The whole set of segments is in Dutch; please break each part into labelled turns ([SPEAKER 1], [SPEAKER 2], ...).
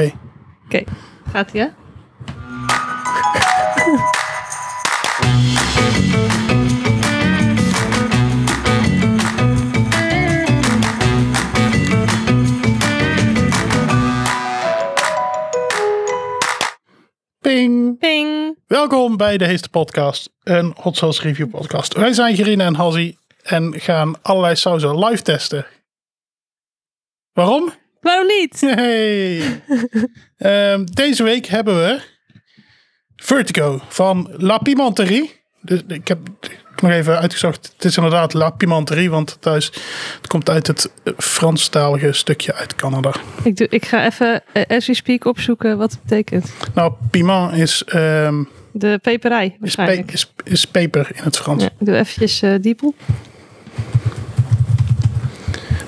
[SPEAKER 1] Oké, gaat ie hè?
[SPEAKER 2] Ping!
[SPEAKER 1] Ping!
[SPEAKER 2] Welkom bij de Heeste Podcast, een hot sauce review podcast. Wij zijn Gerine en Hazzy en gaan allerlei sauzen live testen. Waarom?
[SPEAKER 1] Waarom niet?
[SPEAKER 2] Hey. Ehm, deze week hebben we Vertigo van La Pimenterie. Dus ik heb het nog even uitgezocht. Het is inderdaad La Pimenterie, want thuis het komt uit het eh, Franstalige stukje uit Canada.
[SPEAKER 1] Ik, doe, ik ga even eh, as we speak opzoeken wat het betekent.
[SPEAKER 2] Nou, piment is, ehm,
[SPEAKER 1] De peperij
[SPEAKER 2] is, pe-
[SPEAKER 1] waarschijnlijk.
[SPEAKER 2] is, is peper in het Frans.
[SPEAKER 1] Ja, ik doe eventjes eh diep op.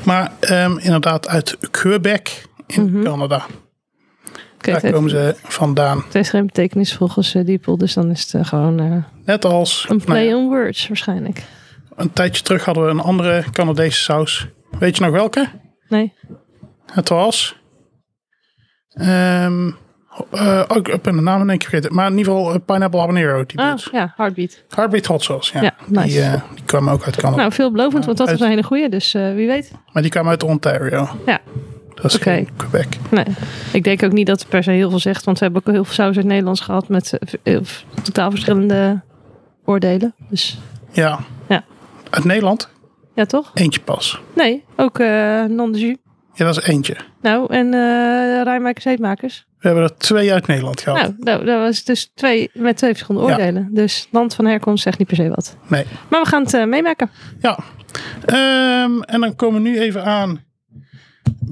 [SPEAKER 2] Maar ehm, inderdaad uit Quebec in
[SPEAKER 1] Mhm.
[SPEAKER 2] Canada.
[SPEAKER 1] Oké,
[SPEAKER 2] Daar
[SPEAKER 1] het heeft-
[SPEAKER 2] komen ze vandaan.
[SPEAKER 1] het heeft geen betekenis volgens eh, Diepel, dus dan is het eh, gewoon eh,
[SPEAKER 2] Net als
[SPEAKER 1] een
[SPEAKER 2] nou
[SPEAKER 1] play
[SPEAKER 2] ja,
[SPEAKER 1] on words waarschijnlijk.
[SPEAKER 2] een tijdje terug hadden we een andere Canadese saus. Weet je nog welke?
[SPEAKER 1] Nee,
[SPEAKER 2] Het was. ehm, eh, ook ik ben de naam in één keer vergeten. Maar in ieder geval eh, Pineapple Habanero. Die
[SPEAKER 1] ah
[SPEAKER 2] ah.
[SPEAKER 1] ja, heartbeat.
[SPEAKER 2] Heartbeat Hot Sauce. Ja,
[SPEAKER 1] Ja, nice.
[SPEAKER 2] die, eh, die kwamen ook uit Canada.
[SPEAKER 1] Nou, veelbelovend, want dat
[SPEAKER 2] uit-
[SPEAKER 1] was een hele goeie, dus eh, wie weet.
[SPEAKER 2] Maar die kwamen uit Ontario.
[SPEAKER 1] Ja,
[SPEAKER 2] Dat is
[SPEAKER 1] Oké.
[SPEAKER 2] geen Quebec.
[SPEAKER 1] nee. Ik denk ook niet dat het per se heel veel zegt, want we hebben ook heel veel saus uit Nederlands gehad met eh, v- heel v- totaal verschillende oordelen. Dus
[SPEAKER 2] Ja.
[SPEAKER 1] Ja.
[SPEAKER 2] Uit Nederland.
[SPEAKER 1] ja, toch?
[SPEAKER 2] Eentje pas.
[SPEAKER 1] Nee, ook eh non de jus.
[SPEAKER 2] Ja, dat is eentje.
[SPEAKER 1] Nou, en eh rijmakers, eetmakers.
[SPEAKER 2] We hebben er twee uit Nederland gehad.
[SPEAKER 1] Nou, nou, dat was dus twee met twee verschillende
[SPEAKER 2] Ja.
[SPEAKER 1] oordelen. Dus land van herkomst zegt niet per se wat.
[SPEAKER 2] Nee.
[SPEAKER 1] Maar we gaan het eh, meemaken.
[SPEAKER 2] Ja. Ehm, en dan komen we nu even aan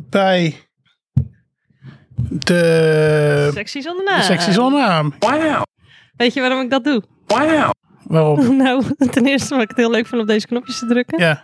[SPEAKER 2] bij de,
[SPEAKER 1] Sexy zonder
[SPEAKER 2] de
[SPEAKER 1] naam.
[SPEAKER 2] sectie zonder naam.
[SPEAKER 1] Weet je waarom ik dat doe?
[SPEAKER 2] Waarom?
[SPEAKER 1] Nou, ten eerste omdat ik het heel leuk vind om deze knopjes te drukken.
[SPEAKER 2] Ja.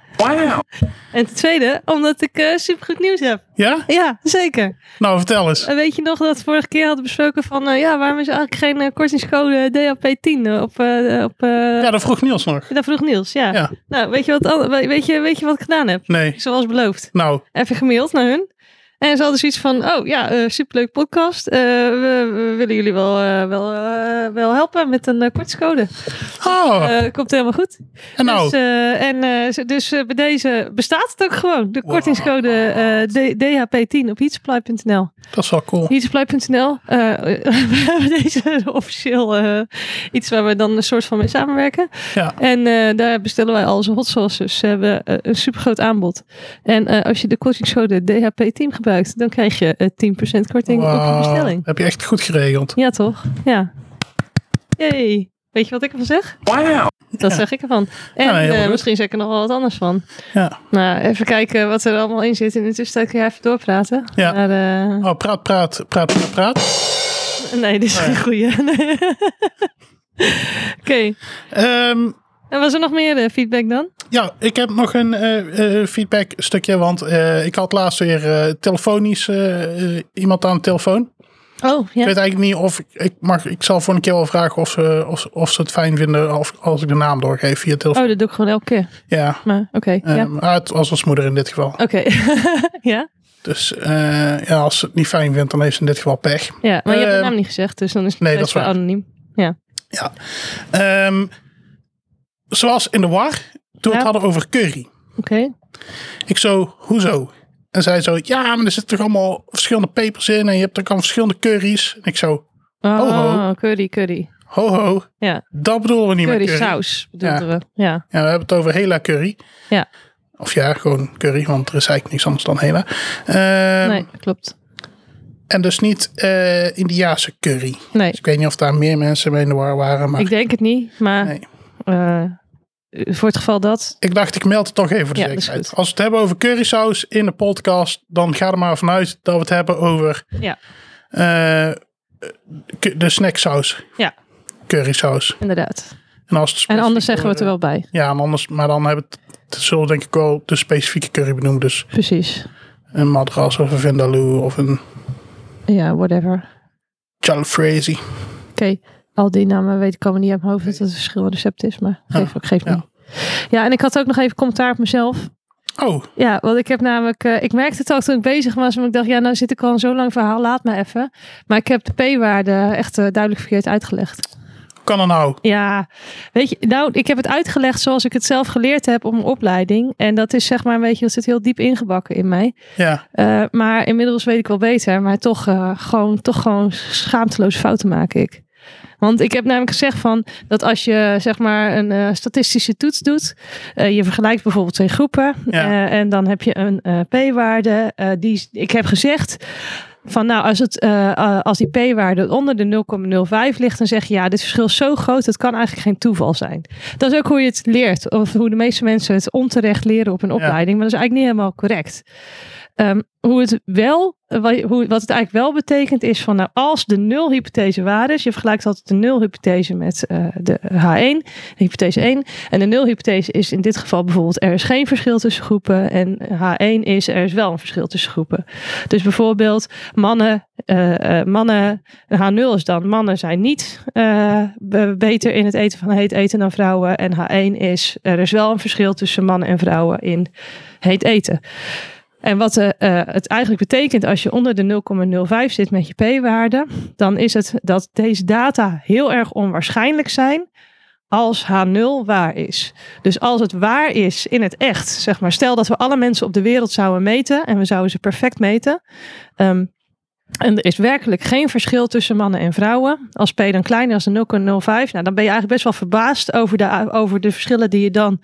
[SPEAKER 1] En ten tweede, omdat ik eh supergoed nieuws heb.
[SPEAKER 2] Ja?
[SPEAKER 1] Ja, zeker.
[SPEAKER 2] Nou, vertel eens.
[SPEAKER 1] En weet je nog dat we vorige keer hadden besproken van... eh, ja, waarom is er eigenlijk geen eh, kortingscode DAP10 op... eh, op eh,
[SPEAKER 2] Ja, dat vroeg Niels nog.
[SPEAKER 1] Dat vroeg Niels, ja.
[SPEAKER 2] Ja.
[SPEAKER 1] Nou, weet je, wat, an- weet, je, weet je wat ik gedaan heb?
[SPEAKER 2] Nee.
[SPEAKER 1] Zoals beloofd.
[SPEAKER 2] Nou,
[SPEAKER 1] even gemaild naar hun. En ze hadden zoiets van, oh ja, eh, superleuk podcast. Eh, we, we willen jullie wel, eh, wel, eh, wel helpen met een eh, kortscode.
[SPEAKER 2] oh,
[SPEAKER 1] Eh, komt helemaal goed.
[SPEAKER 2] en nou,
[SPEAKER 1] Dus, eh, en, eh, ze- dus eh, bij deze bestaat het ook gewoon. De
[SPEAKER 2] Wow.
[SPEAKER 1] kortingscode eh, D- DHP10 op heatsupply.nl.
[SPEAKER 2] dat is wel cool.
[SPEAKER 1] Heatsupply.nl. eh, we hebben deze officieel eh, iets waar we dan een soort van mee samenwerken.
[SPEAKER 2] Ja.
[SPEAKER 1] En eh, daar bestellen wij al onze hot sauces. Ze hebben eh, een supergroot aanbod. En eh, als je de kortingscode DHP-team gebruikt, dan krijg je eh, 10% korting op je
[SPEAKER 2] Wauw,
[SPEAKER 1] bestelling.
[SPEAKER 2] Heb je echt goed geregeld.
[SPEAKER 1] Ja, toch? Ja. Yay. Weet je wat ik ervan zeg? Dat
[SPEAKER 2] Ja.
[SPEAKER 1] zeg ik ervan. En
[SPEAKER 2] Ja, heel
[SPEAKER 1] eh,
[SPEAKER 2] goed.
[SPEAKER 1] misschien zeg ik er nog wel wat anders van.
[SPEAKER 2] Ja.
[SPEAKER 1] Nou, even kijken wat er allemaal in zit. In de tussentijd kun je even doorpraten.
[SPEAKER 2] Ja.
[SPEAKER 1] Maar, eh,
[SPEAKER 2] Oh, praat, praat, praat, praat, praat.
[SPEAKER 1] nee, dit is
[SPEAKER 2] Oh, ja.
[SPEAKER 1] geen goeie. Nee. Oké.
[SPEAKER 2] Ehm,
[SPEAKER 1] En was er nog meer eh, feedback dan?
[SPEAKER 2] ja, ik heb nog een eh, eh, feedback stukje, want eh, ik had laatst weer eh, telefonisch eh, eh, iemand aan de telefoon.
[SPEAKER 1] Oh, ja.
[SPEAKER 2] Ik weet eigenlijk niet of ik, ik mag. Ik zal voor een keer wel vragen of ze, of, ze- of ze het fijn vinden of, als ik de naam doorgeef via telefoon.
[SPEAKER 1] Oh, dat doe ik gewoon elke keer.
[SPEAKER 2] Ja.
[SPEAKER 1] Maar oké, ja. Oh.
[SPEAKER 2] Ehm, maar het was als moeder in dit geval.
[SPEAKER 1] Oké, ja?
[SPEAKER 2] Dus eh, ja, als ze het niet fijn vindt, dan heeft ze in dit geval pech.
[SPEAKER 1] ja, maar je hebt de
[SPEAKER 2] Ehm,
[SPEAKER 1] naam niet gezegd, dus dan is het
[SPEAKER 2] nee,
[SPEAKER 1] best
[SPEAKER 2] dat is
[SPEAKER 1] wel
[SPEAKER 2] waar.
[SPEAKER 1] anoniem. Ja,
[SPEAKER 2] Ja. Ehm, ze was in de war toen we
[SPEAKER 1] Ja.
[SPEAKER 2] het hadden over curry.
[SPEAKER 1] oké.
[SPEAKER 2] Ik zo, hoezo? En zij zo, ja, maar er zitten toch allemaal verschillende pepers in en je hebt toch allemaal verschillende curry's. En ik zo,
[SPEAKER 1] Oh,
[SPEAKER 2] ho.
[SPEAKER 1] curry, curry.
[SPEAKER 2] ho ho,
[SPEAKER 1] Ja,
[SPEAKER 2] dat bedoelen we niet
[SPEAKER 1] curry,
[SPEAKER 2] met curry.
[SPEAKER 1] saus bedoelden we. Ja,
[SPEAKER 2] Ja, we hebben het over hela curry.
[SPEAKER 1] Ja.
[SPEAKER 2] Of ja, gewoon curry, want er is eigenlijk niks anders dan hela. Ehm,
[SPEAKER 1] nee, klopt.
[SPEAKER 2] En dus niet eh Indiaanse curry.
[SPEAKER 1] Nee,
[SPEAKER 2] Dus ik weet niet of daar meer mensen mee in de war waren, maar
[SPEAKER 1] ik denk het niet, maar
[SPEAKER 2] nee.
[SPEAKER 1] eh, voor het geval dat...
[SPEAKER 2] ik dacht, ik meld het toch even voor de
[SPEAKER 1] Ja, dat is
[SPEAKER 2] zekerheid.
[SPEAKER 1] goed.
[SPEAKER 2] Als we het hebben over currysaus in de podcast, dan ga er maar vanuit dat we het hebben over
[SPEAKER 1] Ja,
[SPEAKER 2] eh, cu- de snacksaus,
[SPEAKER 1] ja
[SPEAKER 2] currysaus.
[SPEAKER 1] inderdaad.
[SPEAKER 2] En, als het
[SPEAKER 1] En
[SPEAKER 2] specifiek
[SPEAKER 1] anders zeggen we het er
[SPEAKER 2] worden-
[SPEAKER 1] wel bij.
[SPEAKER 2] Ja, en anders, maar dan hebben we het, het zullen we denk ik wel de specifieke curry benoemen. Dus
[SPEAKER 1] Precies.
[SPEAKER 2] een madras of een vindaloo of een
[SPEAKER 1] Ja, whatever.
[SPEAKER 2] jalfrezi.
[SPEAKER 1] Oké, al die namen weet ik allemaal niet uit mijn hoofd dat het een verschil in recept is, maar geef,
[SPEAKER 2] Ah,
[SPEAKER 1] ook geef
[SPEAKER 2] ja.
[SPEAKER 1] niet. Ja, en ik had ook nog even commentaar op mezelf.
[SPEAKER 2] Oh,
[SPEAKER 1] Ja, want ik heb namelijk, eh, ik merkte het al toen ik bezig was, maar ik dacht, ja, nou zit ik al in zo'n lang verhaal, laat me even. Maar ik heb de p-waarde echt eh, duidelijk verkeerd uitgelegd.
[SPEAKER 2] hoe kan dat nou?
[SPEAKER 1] Ja, weet je, nou, ik heb het uitgelegd zoals ik het zelf geleerd heb op mijn opleiding. En dat is zeg maar een beetje, dat zit heel diep ingebakken in mij.
[SPEAKER 2] Ja,
[SPEAKER 1] Eh, maar inmiddels weet ik wel beter, maar toch, eh, gewoon, toch gewoon schaamteloze fouten maak ik. Want ik heb namelijk gezegd van dat als je zeg maar een eh, statistische toets doet, eh, je vergelijkt bijvoorbeeld twee groepen
[SPEAKER 2] Ja.
[SPEAKER 1] eh, en dan heb je een eh, p-waarde. eh, die is- ik heb gezegd van nou als, het, eh, eh, als die p-waarde onder de 0,05 ligt, dan zeg je ja dit verschil is zo groot, het kan eigenlijk geen toeval zijn. Dat is ook hoe je het leert of hoe de meeste mensen het onterecht leren op een opleiding, maar dat is eigenlijk niet helemaal correct. Ehm, hoe het wel, eh, wa- hoe, wat het eigenlijk wel betekent is van nou, als de nulhypothese waar is, je vergelijkt altijd de nulhypothese met eh, de H1, hypothese 1. En de nulhypothese is in dit geval bijvoorbeeld er is geen verschil tussen groepen en H1 is er is wel een verschil tussen groepen. Dus bijvoorbeeld mannen, eh, eh, mannen H0 is dan mannen zijn niet eh, be- beter in het eten van heet eten dan vrouwen en H1 is er is wel een verschil tussen mannen en vrouwen in heet eten. En wat eh, eh, het eigenlijk betekent als je onder de 0,05 zit met je p-waarde, dan is het dat deze data heel erg onwaarschijnlijk zijn als H0 waar is. Dus als het waar is in het echt, zeg maar, stel dat we alle mensen op de wereld zouden meten en we zouden ze perfect meten. ehm, en er is werkelijk geen verschil tussen mannen en vrouwen. Als P dan kleiner is dan 0,05, nou, dan ben je eigenlijk best wel verbaasd over de, over de verschillen die je dan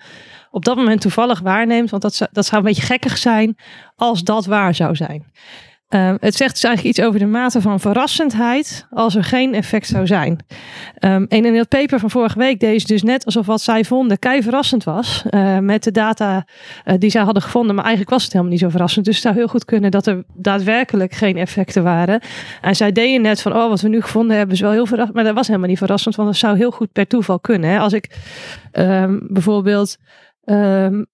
[SPEAKER 1] op dat moment toevallig waarneemt. Want dat zou, dat zou een beetje gekkig zijn als dat waar zou zijn. Ehm, het zegt dus eigenlijk iets over de mate van verrassendheid als er geen effect zou zijn. Ehm, en in dat paper van vorige week deed ze dus net alsof wat zij vonden kei verrassend was. eh, met de data eh, die zij hadden gevonden. Maar eigenlijk was het helemaal niet zo verrassend. Dus het zou heel goed kunnen dat er daadwerkelijk geen effecten waren. En zij deden net van, oh wat we nu gevonden hebben is wel heel verrassend. Maar dat was helemaal niet verrassend. Want dat zou heel goed per toeval kunnen. Hè? Als ik ehm, bijvoorbeeld... ehm,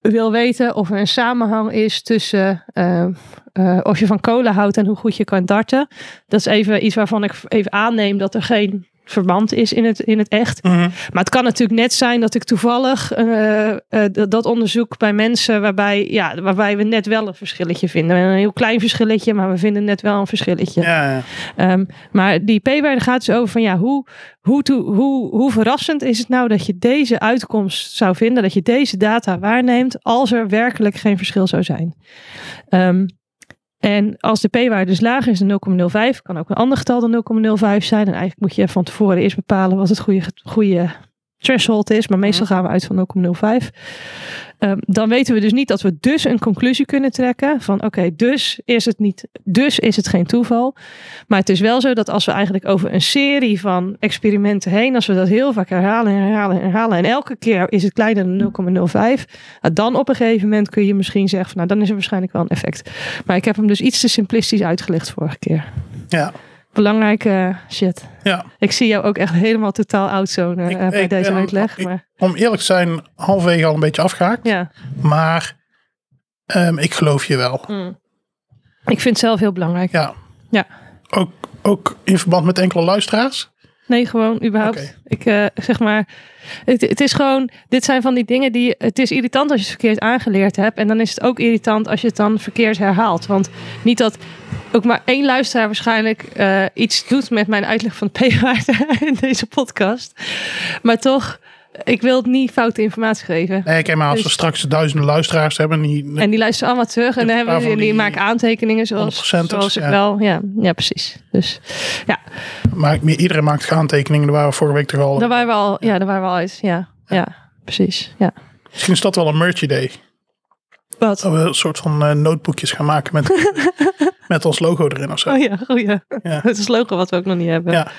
[SPEAKER 1] wil weten of er een samenhang is tussen eh, eh, of je van kolen houdt en hoe goed je kan darten. Dat is even iets waarvan ik even aanneem dat er geen verband is in het, in het echt.
[SPEAKER 2] Mhm.
[SPEAKER 1] Maar het kan natuurlijk net zijn dat ik toevallig eh, eh, dat- dat onderzoek bij mensen waarbij, ja, waarbij we net wel een verschilletje vinden. Een heel klein verschilletje, maar we vinden net wel een verschilletje.
[SPEAKER 2] ja, ja.
[SPEAKER 1] Ehm, maar die p-waarde gaat dus over van ja, hoe, hoe, toe- hoe, hoe verrassend is het nou dat je deze uitkomst zou vinden, dat je deze data waarneemt als er werkelijk geen verschil zou zijn. Ehm, en als de p-waarde dus lager is dan 0,05, kan ook een ander getal dan 0,05 zijn. En eigenlijk moet je van tevoren eerst bepalen wat het goede, goede threshold is, maar meestal gaan we uit van 0,05. Ehm, dan weten we dus niet dat we dus een conclusie kunnen trekken van oké, dus is het niet, dus is het geen toeval. Maar het is wel zo dat als we eigenlijk over een serie van experimenten heen, als we dat heel vaak herhalen en herhalen en herhalen en elke keer is het kleiner dan 0,05, nou, dan op een gegeven moment kun je misschien zeggen van nou dan is er waarschijnlijk wel een effect. Maar ik heb hem dus iets te simplistisch uitgelegd vorige keer.
[SPEAKER 2] ja.
[SPEAKER 1] Belangrijke eh, shit.
[SPEAKER 2] ja.
[SPEAKER 1] Ik zie jou ook echt helemaal totaal outzonen
[SPEAKER 2] Ik-
[SPEAKER 1] eh, bij
[SPEAKER 2] ik
[SPEAKER 1] deze
[SPEAKER 2] ben-
[SPEAKER 1] uitleg.
[SPEAKER 2] ik-
[SPEAKER 1] maar,
[SPEAKER 2] Om eerlijk te zijn, halverwege al een beetje afgehaakt.
[SPEAKER 1] ja.
[SPEAKER 2] Maar ehm, ik geloof je wel.
[SPEAKER 1] Ik vind het zelf heel belangrijk.
[SPEAKER 2] Ja.
[SPEAKER 1] Ja.
[SPEAKER 2] Ook, ook in verband met enkele luisteraars?
[SPEAKER 1] Nee, gewoon überhaupt.
[SPEAKER 2] Oké.
[SPEAKER 1] Ik eh, zeg maar, het, het is gewoon, dit zijn van die dingen die, het is irritant als je het verkeerd aangeleerd hebt. En dan is het ook irritant als je het dan verkeerd herhaalt. Want niet dat ook maar één luisteraar waarschijnlijk eh, iets doet met mijn uitleg van de p-waarde in deze podcast. Maar toch, ik wil het niet foute informatie geven.
[SPEAKER 2] Nee, kijk maar, als we
[SPEAKER 1] Dus-
[SPEAKER 2] straks duizenden luisteraars hebben, die,
[SPEAKER 1] En die luisteren allemaal terug en dan hebben
[SPEAKER 2] Waarvan
[SPEAKER 1] die, die
[SPEAKER 2] die
[SPEAKER 1] maken aantekeningen zoals,
[SPEAKER 2] 100%ers,
[SPEAKER 1] zoals ik
[SPEAKER 2] ja.
[SPEAKER 1] wel. Ja, ja, precies. Dus ja,
[SPEAKER 2] maakt, iedereen maakt aantekeningen. Daar waren we vorige week toch al.
[SPEAKER 1] Daar waren we al, ja, daar waren we al uit. Ja, ja. precies. Ja.
[SPEAKER 2] Misschien is dat wel een merch idee.
[SPEAKER 1] Wat?
[SPEAKER 2] Dat we een soort van eh, notebookjes gaan maken met, met ons logo erin of zo.
[SPEAKER 1] Oh ja, oh ja.
[SPEAKER 2] Ja.
[SPEAKER 1] Het is logo wat we ook nog niet hebben.
[SPEAKER 2] Ja.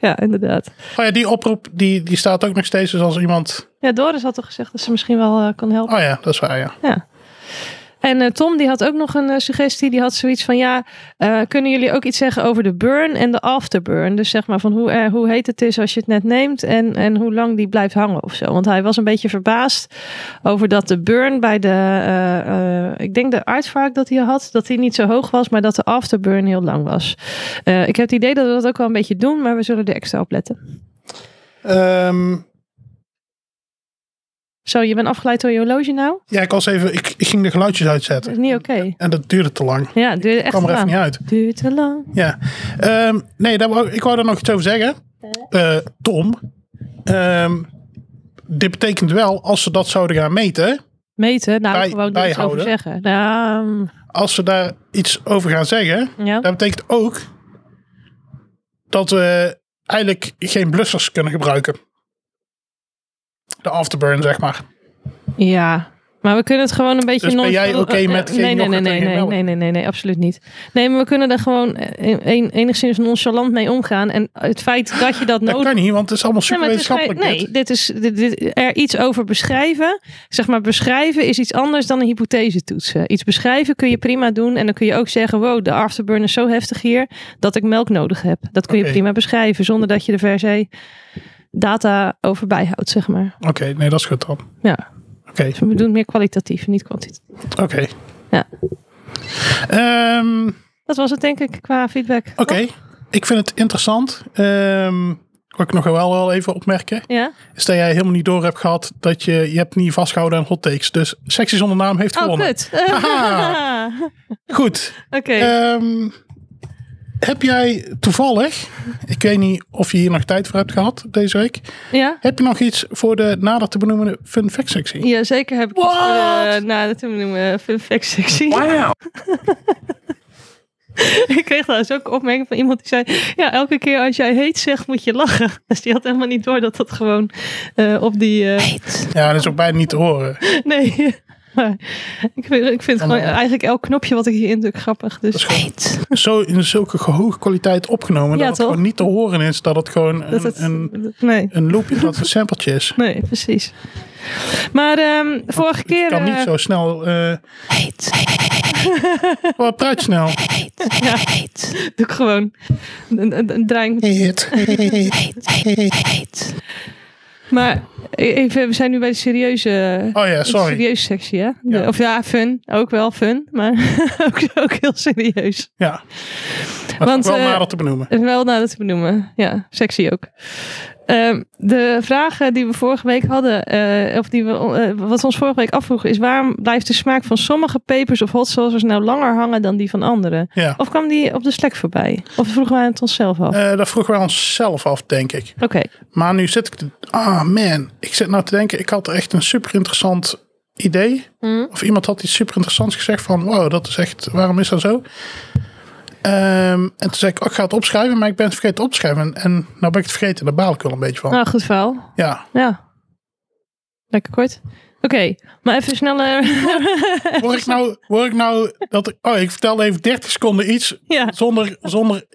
[SPEAKER 1] Ja, inderdaad.
[SPEAKER 2] Oh ja, die oproep die, die staat ook nog steeds. Dus als iemand.
[SPEAKER 1] Ja, Doris had toch gezegd dat ze misschien wel eh, kan helpen.
[SPEAKER 2] Oh ja, dat is waar, ja.
[SPEAKER 1] Ja. En eh, Tom die had ook nog een eh, suggestie. Die had zoiets van ja, eh, kunnen jullie ook iets zeggen over de burn en de afterburn? Dus zeg maar van hoe, eh, hoe heet het is als je het net neemt en, en hoe lang die blijft hangen of zo. Want hij was een beetje verbaasd over dat de burn bij de, eh, eh, ik denk de artsvaak dat hij had, dat die niet zo hoog was, maar dat de afterburn heel lang was. Eh, ik heb het idee dat we dat ook wel een beetje doen, maar we zullen er extra op letten.
[SPEAKER 2] Ehm,
[SPEAKER 1] Zo, je bent afgeleid door je horloge nou?
[SPEAKER 2] Ja, ik, was even, ik, ik ging de geluidjes uitzetten.
[SPEAKER 1] Dat is niet oké.
[SPEAKER 2] En dat duurde te lang.
[SPEAKER 1] Ja, het duurde echt
[SPEAKER 2] kwam
[SPEAKER 1] te
[SPEAKER 2] er even
[SPEAKER 1] lang.
[SPEAKER 2] niet uit.
[SPEAKER 1] Duurt te lang.
[SPEAKER 2] Ja. Ehm, nee, daar wou- ik wou daar nog iets over zeggen. Eh, Tom. Ehm, dit betekent wel, als ze dat zouden gaan meten,
[SPEAKER 1] Meten, nou
[SPEAKER 2] Bij-
[SPEAKER 1] gewoon er iets over
[SPEAKER 2] bijhouden.
[SPEAKER 1] zeggen. Nou, mm,
[SPEAKER 2] als ze daar iets over gaan zeggen,
[SPEAKER 1] ja.
[SPEAKER 2] dat betekent ook dat we eigenlijk geen blussers kunnen gebruiken. De afterburn, zeg maar.
[SPEAKER 1] ja, maar we kunnen het gewoon een beetje...
[SPEAKER 2] Dus ben
[SPEAKER 1] non-
[SPEAKER 2] jij oké met
[SPEAKER 1] Eh,
[SPEAKER 2] geen
[SPEAKER 1] nee, nee, nee,
[SPEAKER 2] yoghurt en
[SPEAKER 1] nee,
[SPEAKER 2] geen
[SPEAKER 1] nee,
[SPEAKER 2] melk?
[SPEAKER 1] nee, nee, nee, nee, absoluut niet. Nee, maar we kunnen daar gewoon eh, een- een- enigszins nonchalant mee omgaan. En het feit dat je dat
[SPEAKER 2] Dat
[SPEAKER 1] nodig
[SPEAKER 2] kan niet, want het is allemaal
[SPEAKER 1] Nee,
[SPEAKER 2] super
[SPEAKER 1] maar het is
[SPEAKER 2] wetenschappelijk.
[SPEAKER 1] geen- nee, dit is dit, dit- er iets over beschrijven. Zeg maar, beschrijven is iets anders dan een hypothese toetsen. Iets beschrijven kun je prima doen. En dan kun je ook zeggen: wow, de afterburn is zo heftig hier dat ik melk nodig heb. Dat kun je
[SPEAKER 2] Oké.
[SPEAKER 1] prima beschrijven zonder dat je er per se data over bijhoudt, zeg maar.
[SPEAKER 2] Oké, nee, dat is goed dan.
[SPEAKER 1] Ja,
[SPEAKER 2] Oké,
[SPEAKER 1] dus we doen het meer kwalitatief, niet kwantitatief.
[SPEAKER 2] oké.
[SPEAKER 1] Ja.
[SPEAKER 2] Ehm,
[SPEAKER 1] Dat was het, denk ik, qua feedback.
[SPEAKER 2] Oké, ik vind het interessant. Ehm wat ik nog wel, wel even opmerken,
[SPEAKER 1] Ja?
[SPEAKER 2] is dat jij helemaal niet door hebt gehad dat je, je hebt niet vastgehouden aan hot takes. Dus Sexy zonder naam heeft
[SPEAKER 1] Oh,
[SPEAKER 2] gewonnen.
[SPEAKER 1] kut.
[SPEAKER 2] Haha. Goed.
[SPEAKER 1] Oké.
[SPEAKER 2] Ehm, heb jij toevallig, ik weet niet of je hier nog tijd voor hebt gehad deze week,
[SPEAKER 1] Ja?
[SPEAKER 2] heb je nog iets voor de nader te benoemen fun fact sectie?
[SPEAKER 1] Ja, zeker heb ik iets voor de, nou, dat noemen we fun fact sectie.
[SPEAKER 3] Wow.
[SPEAKER 1] Ik kreeg trouwens ook een opmerking van iemand die zei... Ja, elke keer als jij heet zegt, moet je lachen. Dus die had helemaal niet door dat dat gewoon eh, op die... eh,
[SPEAKER 2] Ja, dat is ook bijna niet te horen.
[SPEAKER 1] Nee. Maar ik vind, ik vind gewoon eigenlijk elk knopje wat ik hier indruk grappig. Dus
[SPEAKER 2] Zo in zulke hoge kwaliteit opgenomen
[SPEAKER 1] Ja,
[SPEAKER 2] dat het
[SPEAKER 1] toch?
[SPEAKER 2] gewoon niet te horen is dat het gewoon een,
[SPEAKER 1] dat het,
[SPEAKER 2] een,
[SPEAKER 1] nee,
[SPEAKER 2] een loopje, dat het een sampletje is.
[SPEAKER 1] nee, precies. Maar ehm, vorige
[SPEAKER 2] Ik
[SPEAKER 1] keer...
[SPEAKER 2] kan niet
[SPEAKER 1] eh,
[SPEAKER 2] zo snel. eh Wat praat je snel?
[SPEAKER 1] doe ik gewoon een, een, een draaiing. Maar even, we zijn nu bij de serieuze
[SPEAKER 2] Oh ja,
[SPEAKER 1] Sorry.
[SPEAKER 2] sorry.
[SPEAKER 1] Serieuze sectie, hè? De-
[SPEAKER 2] Ja.
[SPEAKER 1] Of ja, fun. Ook wel fun, maar ook, ook heel serieus.
[SPEAKER 2] Ja. Maar
[SPEAKER 1] Want,
[SPEAKER 2] Want, wel
[SPEAKER 1] eh,
[SPEAKER 2] nader te benoemen.
[SPEAKER 1] En Wel nou dat te benoemen. Ja, sexy ook. Ehm, de vragen die we vorige week hadden, eh, of die we, eh, wat we ons vorige week afvroegen, is waarom blijft de smaak van sommige pepers of hot sauces nou langer hangen dan die van anderen?
[SPEAKER 2] Ja.
[SPEAKER 1] Of kwam die op de Slack voorbij? Of vroegen wij het onszelf af?
[SPEAKER 2] Eh, dat vroegen wij onszelf af, denk ik.
[SPEAKER 1] Oké,
[SPEAKER 2] Maar nu zit ik. te- Ah, man. Ik zit nou te denken. Ik had echt een super interessant idee.
[SPEAKER 1] Mhm.
[SPEAKER 2] Of iemand had iets super interessants gezegd. Van wow, dat is echt. Waarom is dat zo? Ehm, en toen zei ik, oh, ik ga het opschrijven, maar ik ben het vergeten op te schrijven. En nou ben ik het vergeten, daar baal ik wel een beetje van.
[SPEAKER 1] nou goed verhaal.
[SPEAKER 2] Ja,
[SPEAKER 1] Ja. Lekker kort. Oké, maar even eh, sneller.
[SPEAKER 2] word ik nou, word ik nou dat, ik- oh, ik vertelde even 30 seconden iets
[SPEAKER 1] ja.
[SPEAKER 2] zonder, zonder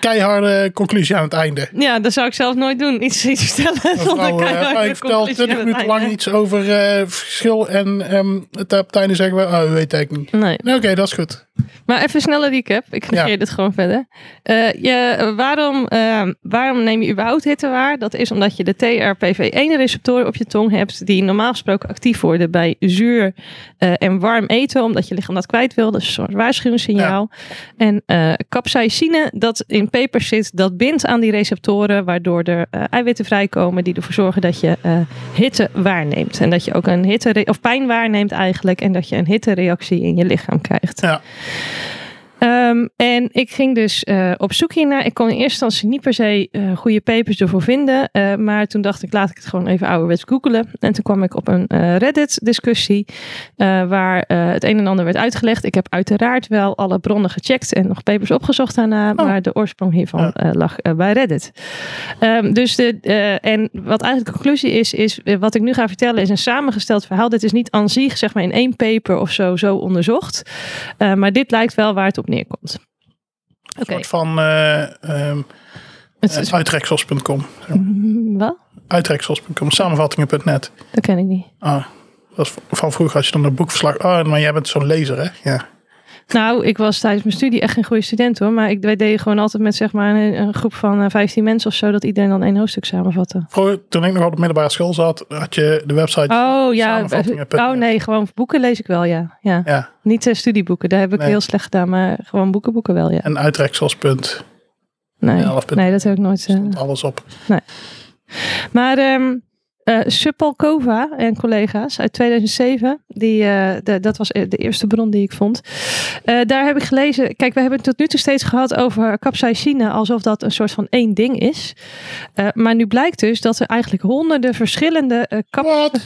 [SPEAKER 2] keiharde conclusie aan het einde.
[SPEAKER 1] Ja, dat zou ik zelf nooit doen. Iets, iets vertellen zonder
[SPEAKER 2] Mevrouw, eh,
[SPEAKER 1] keiharde
[SPEAKER 2] ik vertel
[SPEAKER 1] conclusie
[SPEAKER 2] 20
[SPEAKER 1] aan het
[SPEAKER 2] minuten
[SPEAKER 1] einde.
[SPEAKER 2] lang iets over eh, verschil en ehm, het op het einde zeggen we, oh, weet ik niet.
[SPEAKER 1] Nee,
[SPEAKER 2] Nee, Oké, dat is goed.
[SPEAKER 1] maar even snelle recap. Ik negeer
[SPEAKER 2] Ja.
[SPEAKER 1] dit gewoon verder. Eh, je, waarom, eh, waarom neem je überhaupt hitte waar? Dat is omdat je de TRPV1-receptoren op je tong hebt... die normaal gesproken actief worden bij zuur eh, en warm eten... omdat je lichaam dat kwijt wil. Dat is een soort waarschuwingssignaal. En eh capsaicine, dat in pepers zit... dat bindt aan die receptoren... waardoor er eh, eiwitten vrijkomen... die ervoor zorgen dat je eh, hitte waarneemt. En dat je ook een hitte... of pijn waarneemt eigenlijk... en dat je een hittereactie in je lichaam krijgt.
[SPEAKER 2] Ja.
[SPEAKER 1] Ehm, en ik ging dus eh, op zoek hiernaar. Ik kon in eerste instantie niet per se eh, goede papers ervoor vinden. eh, maar toen dacht ik, laat ik het gewoon even ouderwets googelen. En toen kwam ik op een eh, Reddit-discussie. eh, waar eh, het een en ander werd uitgelegd. Ik heb uiteraard wel alle bronnen gecheckt en nog papers opgezocht daarna. Maar de oorsprong hiervan
[SPEAKER 2] Oh. Ja.
[SPEAKER 1] eh, lag eh, bij Reddit. Ehm, dus de, eh, en wat eigenlijk de conclusie is, is eh, wat ik nu ga vertellen is een samengesteld verhaal. Dit is niet aan zich, zeg maar in één paper of zo, zo onderzocht. Eh, maar dit lijkt wel waar het op neerkomt. Oké,
[SPEAKER 2] Een soort van eh, ehm,
[SPEAKER 1] het is-
[SPEAKER 2] uitreksels.com.
[SPEAKER 1] Mm, wat?
[SPEAKER 2] Uitreksels.com, samenvattingen.net.
[SPEAKER 1] Dat ken ik niet.
[SPEAKER 2] Ah, dat is van vroeger als je dan een boekverslag... Oh, maar jij bent zo'n lezer, hè? Ja.
[SPEAKER 1] Nou, ik was tijdens mijn studie echt geen goede student hoor. Maar ik, wij deden gewoon altijd met zeg maar een, een groep van eh, 15 mensen of zo. Dat iedereen dan één hoofdstuk samenvatte.
[SPEAKER 2] Vroeger, toen ik nog op de middelbare school zat, had je de website...
[SPEAKER 1] Oh ja,
[SPEAKER 2] Samenvattingen.net.
[SPEAKER 1] oh nee, gewoon boeken lees ik wel ja. ja.
[SPEAKER 2] Ja,
[SPEAKER 1] Niet eh, studieboeken, daar heb ik
[SPEAKER 2] Nee.
[SPEAKER 1] heel slecht gedaan. Maar gewoon boeken, boeken wel ja.
[SPEAKER 2] en uitreksels.net.
[SPEAKER 1] Nee,
[SPEAKER 2] elf punt-
[SPEAKER 1] nee dat heb ik nooit. eh,
[SPEAKER 2] Alles op.
[SPEAKER 1] Maar ehm, eh Supalkova en collega's uit 2007. Die, eh, de- dat was de eerste bron die ik vond. Eh, daar heb ik gelezen. Kijk, we hebben het tot nu toe steeds gehad over capsaicine. Alsof dat een soort van één ding is. Eh, maar nu blijkt dus dat er eigenlijk honderden verschillende eh cap,
[SPEAKER 2] Wat?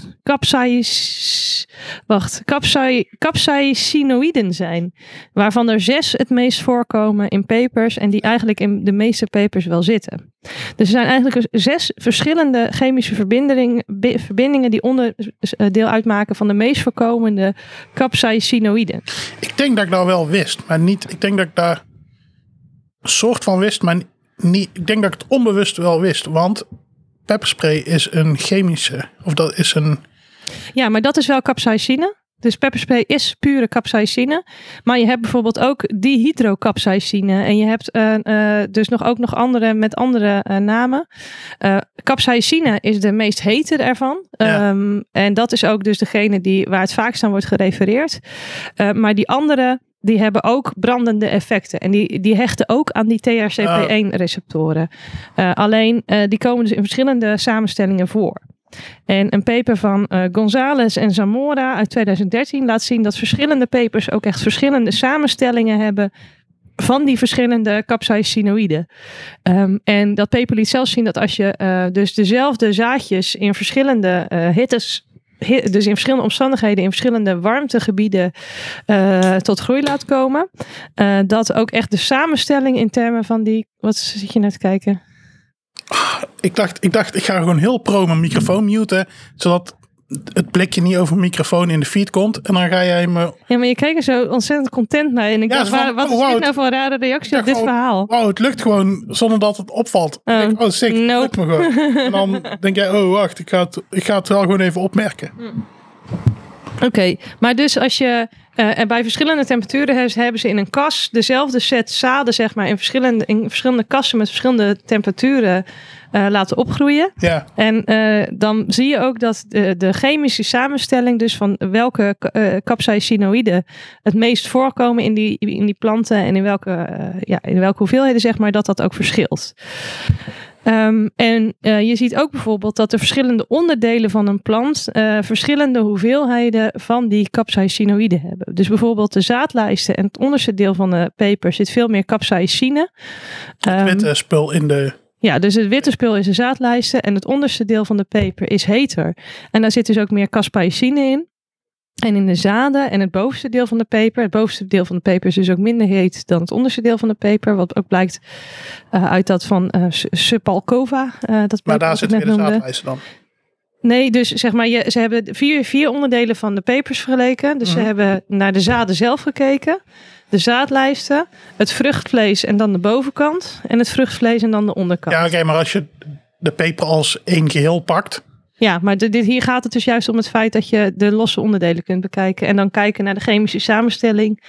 [SPEAKER 1] capsais- wacht, capsai, capsaicinoïden zijn. Waarvan er zes het meest voorkomen in papers en die eigenlijk in de meeste papers wel zitten. Dus er zijn eigenlijk dus zes verschillende chemische verbindingen, bi- verbindingen die onderdeel uitmaken van de meest voorkomende capsaicinoïden.
[SPEAKER 2] Ik denk dat ik dat wel wist, maar niet. Ik denk dat ik daar een soort van wist, maar ni- niet. Ik denk dat ik het onbewust wel wist, want pepperspray is een chemische. Of dat is een.
[SPEAKER 1] Ja, maar dat is wel capsaicine. Dus pepperspray is pure capsaicine. Maar je hebt bijvoorbeeld ook dihydrocapsaicine. En je hebt eh, eh, dus nog ook nog andere met andere eh, namen. Eh capsaicine is de meest hete ervan.
[SPEAKER 2] Ja.
[SPEAKER 1] Ehm, en dat is ook dus degene die, waar het vaakst aan wordt gerefereerd. Eh, maar die andere, die hebben ook brandende effecten. En die, die hechten ook aan die THCP1-receptoren. alleen, eh, die komen dus in verschillende samenstellingen voor. En een paper van eh González en Zamora uit 2013 laat zien dat verschillende papers ook echt verschillende samenstellingen hebben van die verschillende capsaicinoïden. Ehm, en dat paper liet zelfs zien dat als je eh, dus dezelfde zaadjes in verschillende eh, hittes, hi- dus in verschillende omstandigheden, in verschillende warmtegebieden eh, tot groei laat komen, eh, dat ook echt de samenstelling in termen van die, wat zit je net te kijken?
[SPEAKER 2] Ik dacht, ik dacht, ik ga gewoon heel pro mijn microfoon muten, zodat het blikje niet over mijn microfoon in de feed komt. En dan ga jij me.
[SPEAKER 1] Ja, maar je keek er zo ontzettend content naar en ik
[SPEAKER 2] Ja,
[SPEAKER 1] dacht,
[SPEAKER 2] zo van,
[SPEAKER 1] waar- wat
[SPEAKER 2] oh,
[SPEAKER 1] is
[SPEAKER 2] wauw,
[SPEAKER 1] dit nou voor een rare reactie op
[SPEAKER 2] dacht
[SPEAKER 1] dit
[SPEAKER 2] gewoon-
[SPEAKER 1] verhaal?
[SPEAKER 2] Wauw, het lukt gewoon zonder dat het opvalt.
[SPEAKER 1] Oh.
[SPEAKER 2] Ik denk, oh, sick, het
[SPEAKER 1] Nope.
[SPEAKER 2] lukt me gewoon. En dan denk jij, oh, wacht, ik ga het, ik ga het wel gewoon even opmerken.
[SPEAKER 1] Oké, maar dus als je eh, en bij verschillende temperaturen he- hebben ze in een kas dezelfde set zaden, zeg maar, in verschillende, in verschillende kassen met verschillende temperaturen eh, laten opgroeien.
[SPEAKER 2] Ja,
[SPEAKER 1] En eh, dan zie je ook dat de, de chemische samenstelling, dus van welke ka- eh capsaicinoïden het meest voorkomen in die, in die planten en in welke, eh, ja, in welke hoeveelheden, zeg maar, dat dat ook verschilt. Ehm, en eh, je ziet ook bijvoorbeeld dat de verschillende onderdelen van een plant eh, verschillende hoeveelheden van die capsaicinoïden hebben. Dus bijvoorbeeld de zaadlijsten en het onderste deel van de peper zit veel meer capsaicine. Ehm,
[SPEAKER 2] het witte eh, spul in de.
[SPEAKER 1] ja, dus het witte spul is de zaadlijsten en het onderste deel van de peper is heter. En daar zit dus ook meer caspaicine in. En in de zaden en het bovenste deel van de peper. Het bovenste deel van de peper is dus ook minder heet dan het onderste deel van de peper. Wat ook blijkt eh, uit dat van eh, Su- Supalcova. eh, dat
[SPEAKER 2] Maar daar
[SPEAKER 1] paper wat ik
[SPEAKER 2] zit weer
[SPEAKER 1] net
[SPEAKER 2] de
[SPEAKER 1] noemde.
[SPEAKER 2] zaadlijsten dan.
[SPEAKER 1] Nee, dus zeg maar, je, ze hebben vier, vier onderdelen van de papers vergeleken. Dus
[SPEAKER 2] Mhm.
[SPEAKER 1] ze hebben naar de zaden zelf gekeken, de zaadlijsten, het vruchtvlees en dan de bovenkant. En het vruchtvlees en dan de onderkant.
[SPEAKER 2] Ja, oké, maar als je de peper als één geheel pakt.
[SPEAKER 1] Ja, maar dit, dit- hier gaat het dus juist om het feit dat je de losse onderdelen kunt bekijken. En dan kijken naar de chemische samenstelling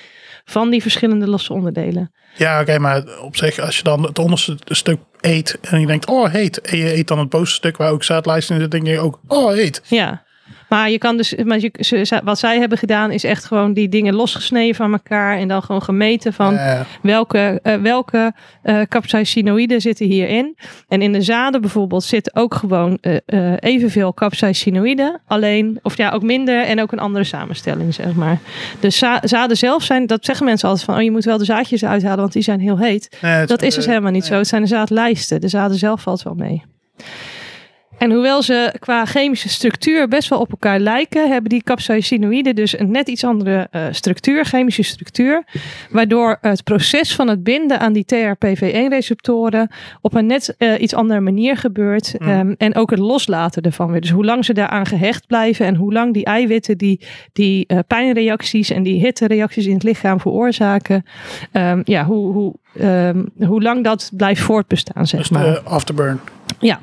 [SPEAKER 1] van die verschillende losse onderdelen.
[SPEAKER 2] Ja, oké, maar op zich, als je dan het onderste stuk eet en je denkt, oh, heet. En je eet dan het bovenste stuk waar ook zaadlijsten in zitten, denk je ook, oh, heet.
[SPEAKER 1] Ja. Maar je kan dus, maar je, ze- ze- wat zij hebben gedaan is echt gewoon die dingen losgesneden van elkaar. En dan gewoon gemeten van
[SPEAKER 2] Eh,
[SPEAKER 1] welke, eh, welke eh capsaicinoïden zitten hierin. En in de zaden bijvoorbeeld zit ook gewoon eh, eh, evenveel capsaicinoïden. Alleen, of ja, ook minder en ook een andere samenstelling, zeg maar. De za- zaden zelf zijn, dat zeggen mensen altijd van, oh je moet wel de zaadjes uithalen, want die zijn heel heet.
[SPEAKER 2] nee, het
[SPEAKER 1] Dat is dus
[SPEAKER 2] eh,
[SPEAKER 1] helemaal niet zo. Het zijn de zaadlijsten. De zaden zelf valt wel mee. En hoewel ze qua chemische structuur best wel op elkaar lijken, hebben die capsaicinoïden dus een net iets andere eh, structuur, chemische structuur. Waardoor het proces van het binden aan die TRPV1-receptoren op een net eh, iets andere manier gebeurt.
[SPEAKER 2] Mm.
[SPEAKER 1] Ehm, en ook het loslaten ervan weer. Dus hoe lang ze daaraan gehecht blijven en hoe lang die eiwitten die, die eh, pijnreacties en die hittereacties in het lichaam veroorzaken, ehm, ja, hoe, hoe, ehm, hoe lang dat blijft voortbestaan, zeg
[SPEAKER 2] Dus
[SPEAKER 1] maar.
[SPEAKER 2] de afterburn.
[SPEAKER 1] Ja,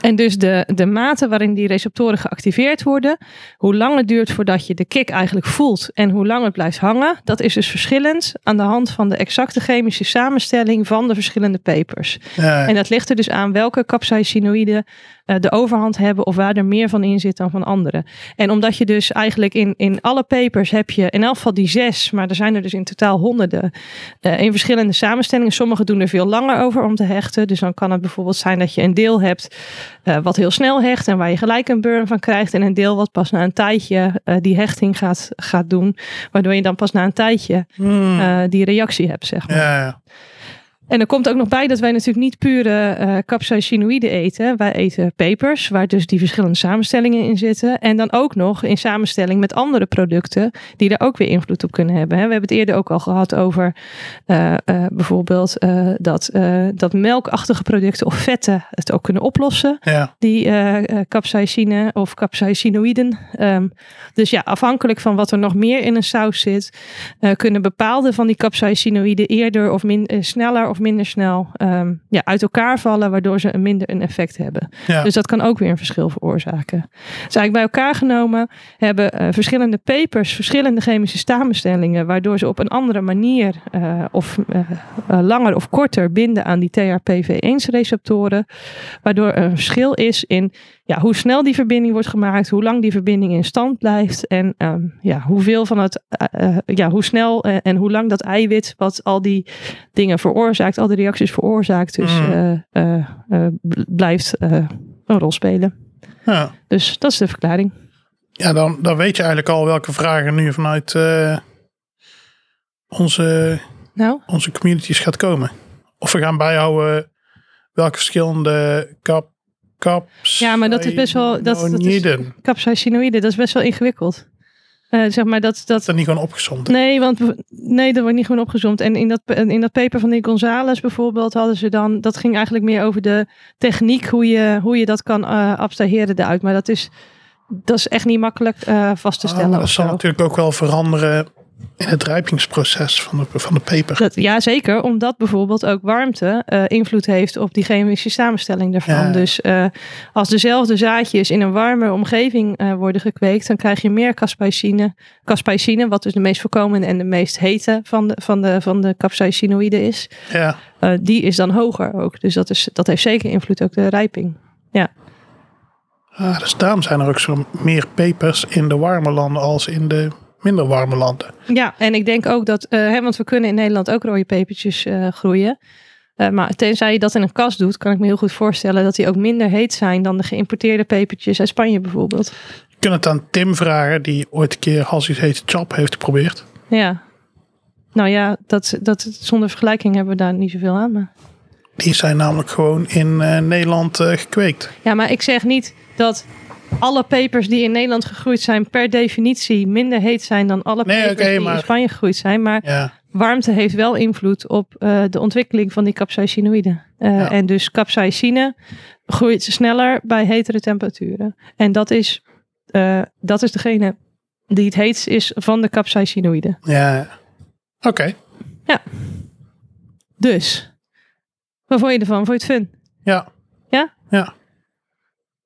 [SPEAKER 1] en dus de, de mate waarin die receptoren geactiveerd worden, hoe lang het duurt voordat je de kick eigenlijk voelt en hoe lang het blijft hangen, dat is dus verschillend aan de hand van de exacte chemische samenstelling van de verschillende papers.
[SPEAKER 2] Ja,
[SPEAKER 1] En dat ligt er dus aan welke capsaicinoïden eh, de overhand hebben of waar er meer van in zit dan van anderen. En omdat je dus eigenlijk in, in alle papers heb je in elk geval die zes, maar er zijn er dus in totaal honderden eh, in verschillende samenstellingen. Sommigen doen er veel langer over om te hechten. Dus dan kan het bijvoorbeeld zijn dat je een deel hebt eh, wat heel snel hecht en waar je gelijk een burn van krijgt. En een deel wat pas na een tijdje eh, die hechting gaat, gaat doen. Waardoor je dan pas na een tijdje
[SPEAKER 2] Hmm.
[SPEAKER 1] eh, die reactie hebt, zeg maar.
[SPEAKER 2] ja, ja.
[SPEAKER 1] En er komt ook nog bij dat wij natuurlijk niet pure eh capsaicinoïden eten. Wij eten pepers, waar dus die verschillende samenstellingen in zitten. En dan ook nog in samenstelling met andere producten die daar ook weer invloed op kunnen hebben. hè. We hebben het eerder ook al gehad over eh, eh, bijvoorbeeld eh, dat, eh, dat melkachtige producten of vetten het ook kunnen oplossen
[SPEAKER 2] ja.
[SPEAKER 1] die eh eh, capsaïcine of capsaicinoïden. Ehm, dus ja, afhankelijk van wat er nog meer in een saus zit, eh, kunnen bepaalde van die capsaicinoïden eerder of min, eh, sneller of minder snel ehm, ja, uit elkaar vallen, waardoor ze een minder een effect hebben.
[SPEAKER 2] Ja.
[SPEAKER 1] Dus dat kan ook weer een verschil veroorzaken. Dus eigenlijk bij elkaar genomen hebben eh, verschillende papers, verschillende chemische samenstellingen, waardoor ze op een andere manier eh, of eh, eh, langer of korter binden aan die THPV1-receptoren. Waardoor er een verschil is in ja, hoe snel die verbinding wordt gemaakt, hoe lang die verbinding in stand blijft en ehm, ja, hoeveel van het, eh, eh, ja, hoe snel eh, en hoe lang dat eiwit, wat al die dingen veroorzaakt, al die reacties veroorzaakt, dus
[SPEAKER 2] Mm.
[SPEAKER 1] eh, eh, eh, bl- blijft eh, een rol spelen.
[SPEAKER 2] ja.
[SPEAKER 1] Dus dat is de verklaring.
[SPEAKER 2] Ja, dan, dan weet je eigenlijk al welke vragen nu vanuit eh, onze,
[SPEAKER 1] Nou,
[SPEAKER 2] onze communities gaat komen. Of we gaan bijhouden welke verschillende kap, kaps. nou
[SPEAKER 1] Ja, maar dat is best wel- dat- dat is-
[SPEAKER 2] Dat is
[SPEAKER 1] capsaicinoïden, dat is best wel ingewikkeld. Eh, zeg maar dat, dat,
[SPEAKER 2] dat niet gewoon opgezond.
[SPEAKER 1] Nee, want we- nee, dat wordt niet gewoon opgezomd. En in dat, in dat paper van die Gonzales bijvoorbeeld hadden ze dan, dat ging eigenlijk meer over de techniek, hoe je, hoe je dat kan eh abstraheren eruit. Maar dat is, dat is echt niet makkelijk eh, vast te
[SPEAKER 2] Ah,
[SPEAKER 1] stellen.
[SPEAKER 2] maar dat
[SPEAKER 1] of
[SPEAKER 2] zal
[SPEAKER 1] zo.
[SPEAKER 2] natuurlijk ook wel veranderen in het rijpingsproces van de, van de peper.
[SPEAKER 1] Dat, ja, zeker. Omdat bijvoorbeeld ook warmte eh, invloed heeft op die chemische samenstelling daarvan.
[SPEAKER 2] Ja.
[SPEAKER 1] Dus eh, als dezelfde zaadjes in een warme omgeving eh, worden gekweekt, dan krijg je meer caspicine. Caspicine, wat dus de meest voorkomende en de meest hete van de, van de, van de capsaicinoïden is.
[SPEAKER 2] Ja,
[SPEAKER 1] Eh, die is dan hoger ook. Dus dat, is, dat heeft zeker invloed ook de rijping.
[SPEAKER 2] ah, dus daarom zijn er ook zo meer pepers in de warme landen als in de minder warme landen.
[SPEAKER 1] Ja, en ik denk ook dat, eh, hè, want we kunnen in Nederland ook rode pepertjes eh, groeien. Eh, maar tenzij je dat in een kas doet, kan ik me heel goed voorstellen dat die ook minder heet zijn dan de geïmporteerde pepertjes uit Spanje bijvoorbeeld.
[SPEAKER 2] Je kunt het aan Tim vragen, die ooit een keer Halsey's hete chap heeft geprobeerd.
[SPEAKER 1] Ja. Nou ja, dat, dat, zonder vergelijking hebben we daar niet zoveel aan. Maar...
[SPEAKER 2] Die zijn namelijk gewoon in eh, Nederland eh, gekweekt.
[SPEAKER 1] Ja, maar ik zeg niet dat alle pepers die in Nederland gegroeid zijn per definitie minder heet zijn dan alle
[SPEAKER 2] Nee,
[SPEAKER 1] pepers
[SPEAKER 2] oké,
[SPEAKER 1] die
[SPEAKER 2] maar-
[SPEAKER 1] in Spanje gegroeid zijn. Maar
[SPEAKER 2] Ja,
[SPEAKER 1] warmte heeft wel invloed op eh, de ontwikkeling van die capsaicinoïden. Eh,
[SPEAKER 2] Ja.
[SPEAKER 1] En dus capsaicine groeit sneller bij hetere temperaturen. En dat is, eh, dat is degene die het heetst is van de capsaicinoïden.
[SPEAKER 2] ja. Oké.
[SPEAKER 1] Dus, wat vond je ervan? Vond je het fun?
[SPEAKER 2] Ja,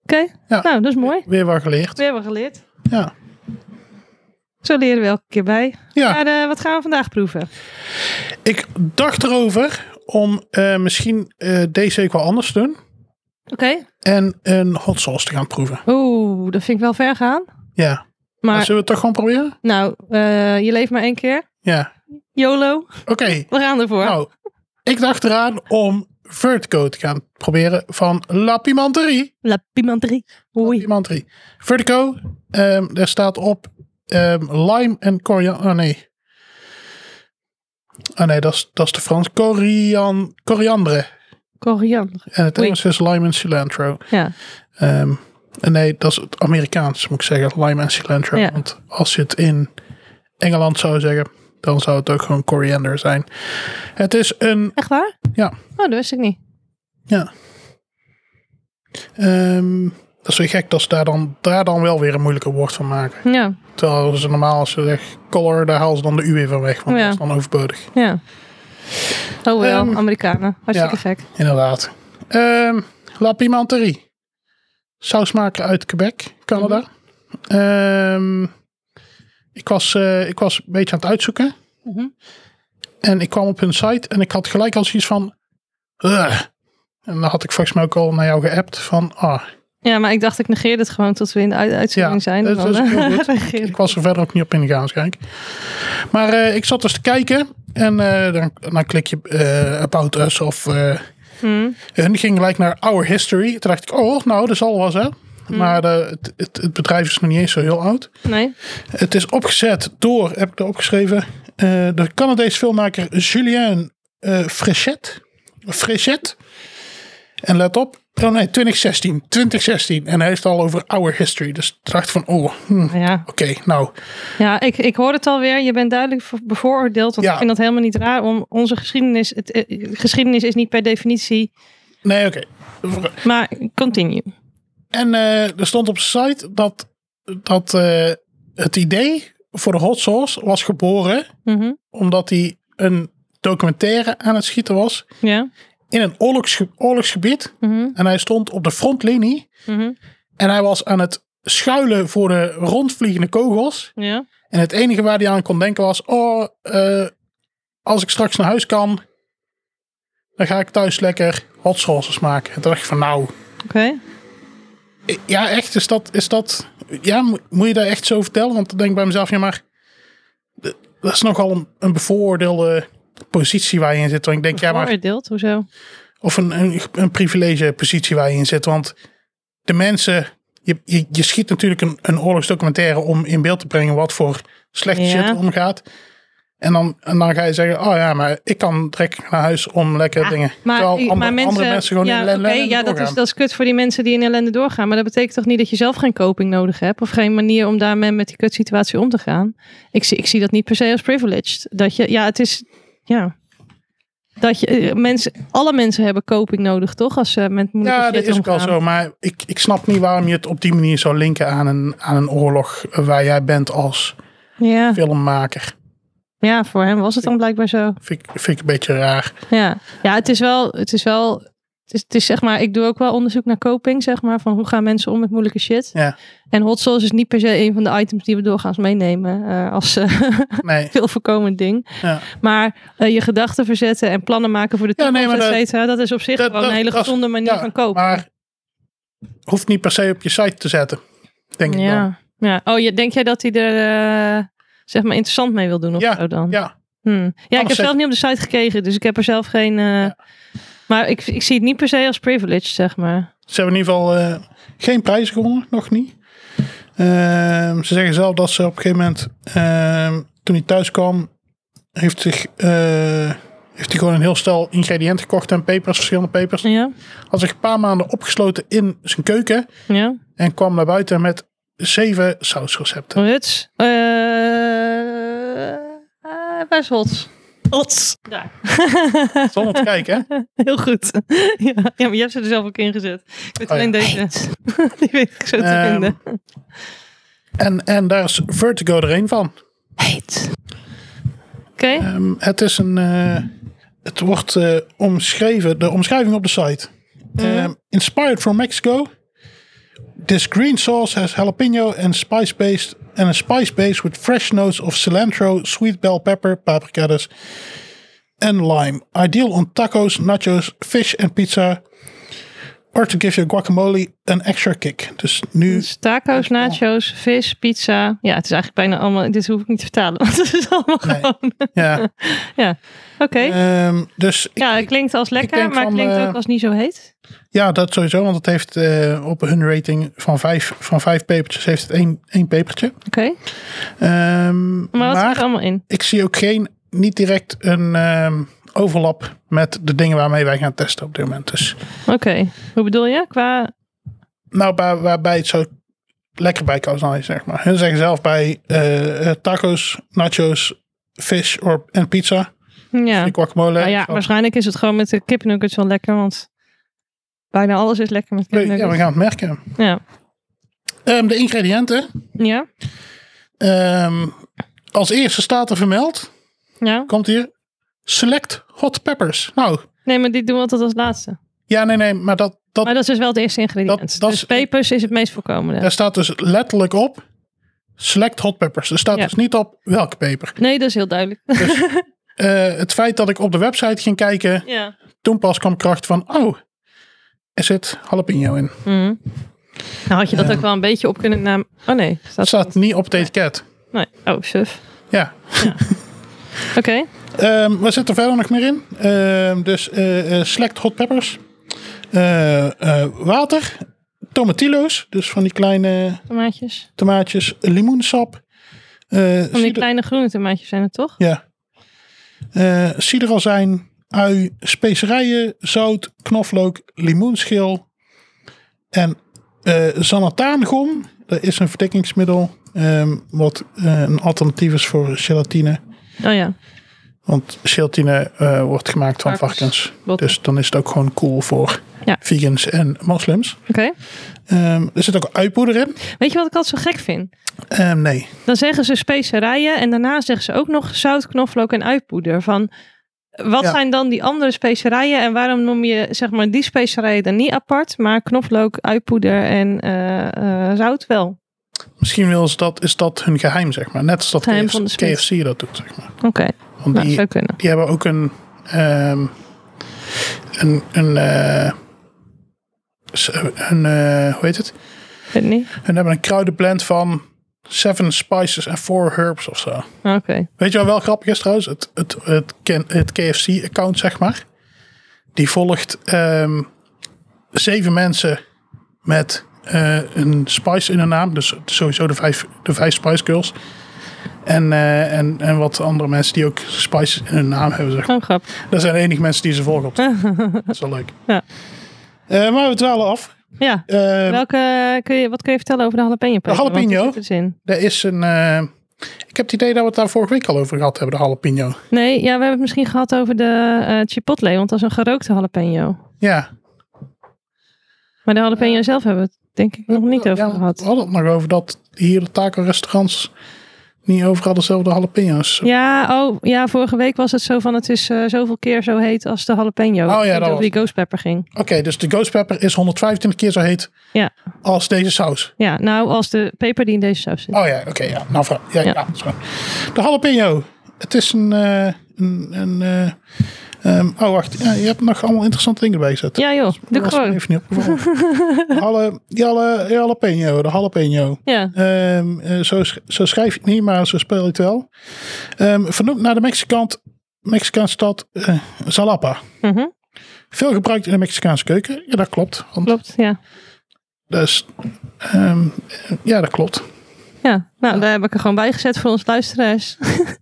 [SPEAKER 1] Oké,
[SPEAKER 2] Ja.
[SPEAKER 1] nou dat is mooi.
[SPEAKER 2] weer wat geleerd.
[SPEAKER 1] We hebben geleerd.
[SPEAKER 2] Ja.
[SPEAKER 1] Zo leren we elke keer bij.
[SPEAKER 2] Ja,
[SPEAKER 1] Maar eh, wat gaan we vandaag proeven?
[SPEAKER 2] ik dacht erover om eh, misschien eh, deze week wel anders te doen.
[SPEAKER 1] Oké.
[SPEAKER 2] En een hot sauce te gaan proeven.
[SPEAKER 1] Oeh, dat vind ik wel ver gaan.
[SPEAKER 2] Ja.
[SPEAKER 1] Maar
[SPEAKER 2] Zullen we het toch gewoon proberen?
[SPEAKER 1] nou, eh, je leeft maar één keer.
[SPEAKER 2] Ja.
[SPEAKER 1] YOLO,
[SPEAKER 2] Oké.
[SPEAKER 1] we gaan ervoor.
[SPEAKER 2] Nou, ik dacht eraan om Vertigo te gaan proberen van La Pimenterie.
[SPEAKER 1] La pimenterie. Oei.
[SPEAKER 2] Pimenterie. Vertigo, ehm, daar staat op ehm, lime en koriander. Oh nee. Ah nee, dat is, dat is de Frans. Corian, koriandre.
[SPEAKER 1] Koriander.
[SPEAKER 2] En het
[SPEAKER 1] Oei.
[SPEAKER 2] Engels is lime en cilantro.
[SPEAKER 1] Ja.
[SPEAKER 2] Ehm, en nee, dat is het Amerikaans, moet ik zeggen. Lime en cilantro.
[SPEAKER 1] Ja.
[SPEAKER 2] Want als je het in Engeland zou zeggen, dan zou het ook gewoon koriander zijn. Het is een
[SPEAKER 1] Echt waar?
[SPEAKER 2] Ja.
[SPEAKER 1] Oh, dat wist ik niet.
[SPEAKER 2] Ja. Ehm, dat is weer gek dat ze daar dan, daar dan wel weer een moeilijker woord van maken.
[SPEAKER 1] Ja.
[SPEAKER 2] Terwijl ze normaal als ze zeggen color, daar halen ze dan de U weer van weg. Want
[SPEAKER 1] Oh Ja.
[SPEAKER 2] dat is dan overbodig.
[SPEAKER 1] Ja. Oh wel,
[SPEAKER 2] Ehm,
[SPEAKER 1] Amerikanen. Hartstikke
[SPEAKER 2] ja.
[SPEAKER 1] gek.
[SPEAKER 2] Inderdaad. Ehm, La Pimenterie. Sausmaker uit Quebec, Canada. Ehm, ik, was, eh, ik was een beetje aan het uitzoeken.
[SPEAKER 1] Mhm.
[SPEAKER 2] En ik kwam op hun site en ik had gelijk al zoiets van... "Ugh." En dan had ik volgens mij ook al naar jou geappt van... Ah,
[SPEAKER 1] Ja, maar ik dacht, ik negeer dit gewoon tot we in de uit- uitzending
[SPEAKER 2] Ja,
[SPEAKER 1] zijn.
[SPEAKER 2] dat
[SPEAKER 1] Dan,
[SPEAKER 2] is
[SPEAKER 1] eh,
[SPEAKER 2] heel goed.
[SPEAKER 1] reageer ik.
[SPEAKER 2] Ik was er verder ook niet op ingegaan waarschijnlijk. Maar eh, ik zat dus te kijken. En eh, dan, dan klik je eh, About Us of... eh,
[SPEAKER 1] Hmm.
[SPEAKER 2] hun ging gelijk naar Our History. Toen dacht ik, oh, nou, dat zal wel zijn. Maar eh, het, het, het bedrijf is nog niet eens zo heel oud.
[SPEAKER 1] Nee.
[SPEAKER 2] Het is opgezet door, heb ik er opgeschreven, eh, de Canadese filmmaker Julien eh Fréchette. Fréchette. En let op, oh nee, 2016. 2016. En hij heeft het al over Our History. Dus ik dacht van, oh, hm, oké,
[SPEAKER 1] Ja,
[SPEAKER 2] nou.
[SPEAKER 1] ja ik, ik hoor het alweer. Je bent duidelijk voor- bevooroordeeld. Want
[SPEAKER 2] Ja.
[SPEAKER 1] ik vind dat helemaal niet raar. Om onze geschiedenis, het, eh, geschiedenis is niet per definitie.
[SPEAKER 2] Nee, oké.
[SPEAKER 1] Maar continue.
[SPEAKER 2] En eh, er stond op zijn site dat, dat eh, het idee voor de hot sauce was geboren
[SPEAKER 1] Mhm.
[SPEAKER 2] omdat hij een documentaire aan het schieten was
[SPEAKER 1] Ja.
[SPEAKER 2] in een oorlogsge- oorlogsgebied.
[SPEAKER 1] Mhm.
[SPEAKER 2] En hij stond op de frontlinie
[SPEAKER 1] Mhm.
[SPEAKER 2] en hij was aan het schuilen voor de rondvliegende kogels.
[SPEAKER 1] Ja.
[SPEAKER 2] En het enige waar hij aan kon denken was, oh, eh, als ik straks naar huis kan, dan ga ik thuis lekker hot sauces maken. En toen dacht ik van, nou,
[SPEAKER 1] Oké.
[SPEAKER 2] eh, ja, echt, is dat, is dat, ja, mo- moet je daar echt zo vertellen? Want dan denk ik bij mezelf, ja, maar d- dat is nogal een, een bevooroordeelde positie waar je in zit. Want ik denk, ja, maar
[SPEAKER 1] Bevooroordeeld, hoezo?
[SPEAKER 2] of een, een, een privilegepositie waar je in zit. Want de mensen, je, je, je schiet natuurlijk een, een oorlogsdocumentaire om in beeld te brengen wat voor slechte
[SPEAKER 1] Ja.
[SPEAKER 2] shit er omgaat. En dan, en dan ga je zeggen, oh ja, maar ik kan direct naar huis om lekker dingen.
[SPEAKER 1] Maar,
[SPEAKER 2] Terwijl
[SPEAKER 1] maar
[SPEAKER 2] andere,
[SPEAKER 1] mensen,
[SPEAKER 2] andere mensen gewoon
[SPEAKER 1] ja,
[SPEAKER 2] in ellende
[SPEAKER 1] oké, ja, dat is,
[SPEAKER 2] doorgaan.
[SPEAKER 1] dat is kut voor die mensen die in ellende doorgaan. Maar dat betekent toch niet dat je zelf geen coping nodig hebt? Of geen manier om daarmee met die kutsituatie om te gaan? Ik zie, ik zie dat niet per se als privileged. Dat je, ja, het is, ja. Dat je, eh, mensen, alle mensen hebben coping nodig, toch? Als ze met moeilijke
[SPEAKER 2] Ja,
[SPEAKER 1] shit
[SPEAKER 2] dat is ook wel
[SPEAKER 1] omgaan.
[SPEAKER 2] zo. Maar ik, ik snap niet waarom je het op die manier zou linken aan een, aan een oorlog waar jij bent als
[SPEAKER 1] Ja,
[SPEAKER 2] filmmaker.
[SPEAKER 1] ja, voor hem was het dan blijkbaar zo.
[SPEAKER 2] Vind ik, vind ik een beetje raar.
[SPEAKER 1] Ja, ja het is wel. Het is wel het is, het is zeg maar, ik doe ook wel onderzoek naar coping, zeg maar, van hoe gaan mensen om met moeilijke shit.
[SPEAKER 2] Ja.
[SPEAKER 1] En hot sauce is niet per se een van de items die we doorgaans meenemen eh, als eh,
[SPEAKER 2] Nee.
[SPEAKER 1] veel voorkomend ding.
[SPEAKER 2] Ja.
[SPEAKER 1] Maar eh, je gedachten verzetten en plannen maken voor de
[SPEAKER 2] Ja, nee,
[SPEAKER 1] toekomst,
[SPEAKER 2] maar
[SPEAKER 1] et
[SPEAKER 2] dat-
[SPEAKER 1] cetera, dat is op zich
[SPEAKER 2] dat-
[SPEAKER 1] gewoon
[SPEAKER 2] dat-
[SPEAKER 1] een hele
[SPEAKER 2] dat-
[SPEAKER 1] gezonde manier van kopen.
[SPEAKER 2] Maar hoeft niet per se op je site te zetten. Denk ik dan.
[SPEAKER 1] ja. ja. Oh, je, denk jij dat hij er eh, zeg maar interessant mee wil doen of
[SPEAKER 2] Ja,
[SPEAKER 1] zo dan?
[SPEAKER 2] Ja,
[SPEAKER 1] Hmm. Ja, ik heb
[SPEAKER 2] Anders
[SPEAKER 1] zelf
[SPEAKER 2] zeg-
[SPEAKER 1] niet op de site gekeken, dus ik heb er zelf geen. eh, Maar ik, ik zie het niet per se als privilege, zeg maar.
[SPEAKER 2] ze hebben in ieder geval eh, geen prijs gewonnen, nog niet. Ehm, ze zeggen zelf dat ze op een gegeven moment, ehm, toen hij thuis kwam, heeft, zich, eh, heeft hij gewoon een heel stel ingrediënten gekocht en pepers, verschillende pepers.
[SPEAKER 1] Ja,
[SPEAKER 2] Had zich een paar maanden opgesloten in zijn keuken
[SPEAKER 1] ja.
[SPEAKER 2] en kwam naar buiten met zeven sausrecepten.
[SPEAKER 1] Ruts. Eh eh, bij Zwots. Ots. Daar.
[SPEAKER 2] Zonder te kijken, hè?
[SPEAKER 1] Heel goed. ja, ja, maar je hebt ze er zelf ook ingezet. Ik weet
[SPEAKER 2] Oh,
[SPEAKER 1] alleen
[SPEAKER 2] ja.
[SPEAKER 1] deze. Die weet ik zo te
[SPEAKER 2] Ehm,
[SPEAKER 1] vinden.
[SPEAKER 2] En, en daar is Vertigo er een van.
[SPEAKER 1] Heet. Oké.
[SPEAKER 2] Ehm, het is een. eh, het wordt eh, omschreven, de omschrijving op de site. Ehm, inspired from Mexico. This green sauce has jalapeno and spice based and a spice base with fresh notes of cilantro, sweet bell pepper, paprikadas and lime. Ideal on tacos, nachos, fish and pizza. Or to give your guacamole an extra kick. Dus nu
[SPEAKER 1] Dus taco's, nacho's, vis, pizza. Ja, het is eigenlijk bijna allemaal... Dit hoef ik niet te vertalen, want het is allemaal
[SPEAKER 2] Nee.
[SPEAKER 1] gewoon...
[SPEAKER 2] ja.
[SPEAKER 1] Ja, oké.
[SPEAKER 2] Ehm, dus
[SPEAKER 1] ja, het klinkt als lekker,
[SPEAKER 2] denk
[SPEAKER 1] maar het
[SPEAKER 2] van,
[SPEAKER 1] klinkt
[SPEAKER 2] eh,
[SPEAKER 1] ook als niet zo heet.
[SPEAKER 2] Ja, dat sowieso, want het heeft eh, op hun rating van vijf, van vijf pepertjes heeft het één, één pepertje.
[SPEAKER 1] Oké.
[SPEAKER 2] Ehm,
[SPEAKER 1] Maar
[SPEAKER 2] maar
[SPEAKER 1] wat zit er allemaal in?
[SPEAKER 2] ik zie ook geen, niet direct een ehm, overlap met de dingen waarmee wij gaan testen op dit moment. Dus,
[SPEAKER 1] Oké. Hoe bedoel je? Qua...
[SPEAKER 2] nou, waar, waarbij het zo lekker bij kan zijn, zeg maar. Hun zeggen zelf bij eh, eh, tacos, nachos, fish or, en pizza,
[SPEAKER 1] Ja.
[SPEAKER 2] die guacamole. Oh,
[SPEAKER 1] Nou ja, waarschijnlijk is het gewoon met de kipnuggets wel lekker, want bijna alles is lekker met
[SPEAKER 2] Nee, ja, we
[SPEAKER 1] kipnuggets.
[SPEAKER 2] gaan het merken.
[SPEAKER 1] Ja,
[SPEAKER 2] Ehm, de ingrediënten.
[SPEAKER 1] ja,
[SPEAKER 2] Ehm, als eerste staat er vermeld
[SPEAKER 1] ja.
[SPEAKER 2] komt hier. Select hot peppers. Nou,
[SPEAKER 1] Nee, maar die doen we altijd als laatste.
[SPEAKER 2] ja, nee, nee, maar dat, dat,
[SPEAKER 1] Maar dat is dus wel het eerste ingrediënt.
[SPEAKER 2] Dat- dat
[SPEAKER 1] dus
[SPEAKER 2] is-
[SPEAKER 1] pepers is het meest voorkomende.
[SPEAKER 2] daar staat dus letterlijk op. Select hot peppers. Er staat
[SPEAKER 1] Ja.
[SPEAKER 2] dus niet op welke peper.
[SPEAKER 1] Nee, dat is heel duidelijk.
[SPEAKER 2] Eh, het feit dat ik op de website ging kijken,
[SPEAKER 1] ja.
[SPEAKER 2] toen pas kwam kracht van, oh, er zit jalapeno in.
[SPEAKER 1] Mhm. Nou had je dat ook wel een beetje op kunnen namen. Oh nee,
[SPEAKER 2] Dat
[SPEAKER 1] staat...
[SPEAKER 2] staat niet op het etiket.
[SPEAKER 1] nee. Oh, suf.
[SPEAKER 2] Ja.
[SPEAKER 1] Oké.
[SPEAKER 2] Ehm wat zit er verder nog meer in? Ehm, dus eh, eh, select hot peppers. Eh, eh, water. Tomatillo's. Dus van die kleine
[SPEAKER 1] Tomaatjes.
[SPEAKER 2] tomaatjes. Limoensap. eh,
[SPEAKER 1] Van die
[SPEAKER 2] cider-
[SPEAKER 1] kleine groene tomaatjes zijn het toch?
[SPEAKER 2] Ja. Eh Ciderazijn, ui, specerijen, zout, knoflook, limoenschil en eh zanataangom. Dat is een verdikkingsmiddel ehm, wat eh, een alternatief is voor gelatine.
[SPEAKER 1] Oh ja.
[SPEAKER 2] Want gelatine eh, wordt gemaakt van
[SPEAKER 1] Varkens.
[SPEAKER 2] varkens.
[SPEAKER 1] Botten.
[SPEAKER 2] Dus dan is het ook gewoon cool voor
[SPEAKER 1] Ja.
[SPEAKER 2] vegans en moslims.
[SPEAKER 1] Oké.
[SPEAKER 2] Ehm, er zit ook uipoeder in.
[SPEAKER 1] Weet je wat ik altijd zo gek vind?
[SPEAKER 2] Ehm, nee.
[SPEAKER 1] Dan zeggen ze specerijen en daarna zeggen ze ook nog zout, knoflook en uitpoeder. Van wat
[SPEAKER 2] Ja.
[SPEAKER 1] zijn dan die andere specerijen en waarom noem je zeg maar die specerijen dan niet apart, maar knoflook, uitpoeder en eh, eh, zout wel?
[SPEAKER 2] Misschien wil ze dat, is dat hun geheim, zeg maar. Net als dat
[SPEAKER 1] Geheim
[SPEAKER 2] KFC,
[SPEAKER 1] van de smid.
[SPEAKER 2] KFC dat doet, zeg maar.
[SPEAKER 1] Oké,
[SPEAKER 2] Want
[SPEAKER 1] nou,
[SPEAKER 2] die,
[SPEAKER 1] zou kunnen.
[SPEAKER 2] die hebben ook een. ehm, een. een, eh, s- een eh, hoe heet het?
[SPEAKER 1] Weet niet.
[SPEAKER 2] Hun hebben een kruidenblend van. Seven spices and four herbs of zo.
[SPEAKER 1] Oké.
[SPEAKER 2] Weet je wat wel grappig is trouwens? Het, het, het, ken- het KFC-account, zeg maar. Die volgt ehm, zeven mensen met eh, een spice in hun naam. Dus sowieso de vijf, de vijf Spice Girls. En, eh, en, en wat andere mensen die ook spice in hun naam hebben, zeg
[SPEAKER 1] Gewoon grappig.
[SPEAKER 2] dat zijn de enige mensen die ze volgen op Twitter. Dat is wel leuk.
[SPEAKER 1] Ja.
[SPEAKER 2] Eh, maar we dwalen af.
[SPEAKER 1] Ja.
[SPEAKER 2] Eh,
[SPEAKER 1] Welke, kun je, wat kun je vertellen over de jalapeno? Peter? Want
[SPEAKER 2] jalapeno?
[SPEAKER 1] die zit er dus in.
[SPEAKER 2] er is een... eh, ik heb het idee dat we het daar vorige week al over gehad hebben, de jalapeno.
[SPEAKER 1] Nee, ja, we hebben het misschien gehad over de eh, chipotle, want dat is een gerookte jalapeno.
[SPEAKER 2] Ja.
[SPEAKER 1] Maar de jalapeno zelf hebben we het denk ik nog niet over
[SPEAKER 2] Ja,
[SPEAKER 1] gehad.
[SPEAKER 2] We hadden het nog over dat hier de taco-restaurants niet overal dezelfde jalapeno's.
[SPEAKER 1] Ja, oh, ja, vorige week was het zo van het is eh, zoveel keer zo heet als de jalapeno.
[SPEAKER 2] Oh, ja,
[SPEAKER 1] Ik denk
[SPEAKER 2] dat was
[SPEAKER 1] over die ghost pepper ging.
[SPEAKER 2] Oké, dus de ghost pepper is 125 keer zo heet
[SPEAKER 1] Ja.
[SPEAKER 2] als deze saus.
[SPEAKER 1] Ja, nou als de peper die in deze saus zit.
[SPEAKER 2] Oh ja, oké. ja. Nou, vra- ja, ja.
[SPEAKER 1] Ja.
[SPEAKER 2] dat is waar. de jalapeno. Het is een... eh, een, een eh, ehm, oh, wacht. Ja, je hebt nog allemaal interessante dingen bij gezet.
[SPEAKER 1] Ja joh, doe ik
[SPEAKER 2] was me
[SPEAKER 1] gewoon.
[SPEAKER 2] even niet opgevallen. Alle, Jalle, jalapeno, de jalapeno.
[SPEAKER 1] Ja,
[SPEAKER 2] Ehm, eh, zo, sch- zo schrijf je het niet, maar zo speel je het wel. Ehm, vernoemd naar de Mexicant, Mexicaanse stad eh, Zalapa.
[SPEAKER 1] mhm,
[SPEAKER 2] Veel gebruikt in de Mexicaanse keuken. Ja, dat klopt. Want
[SPEAKER 1] klopt. Ja.
[SPEAKER 2] dat is, ehm, eh, ja, dat klopt.
[SPEAKER 1] ja, nou daar heb ik er gewoon bij gezet voor ons luisteraars.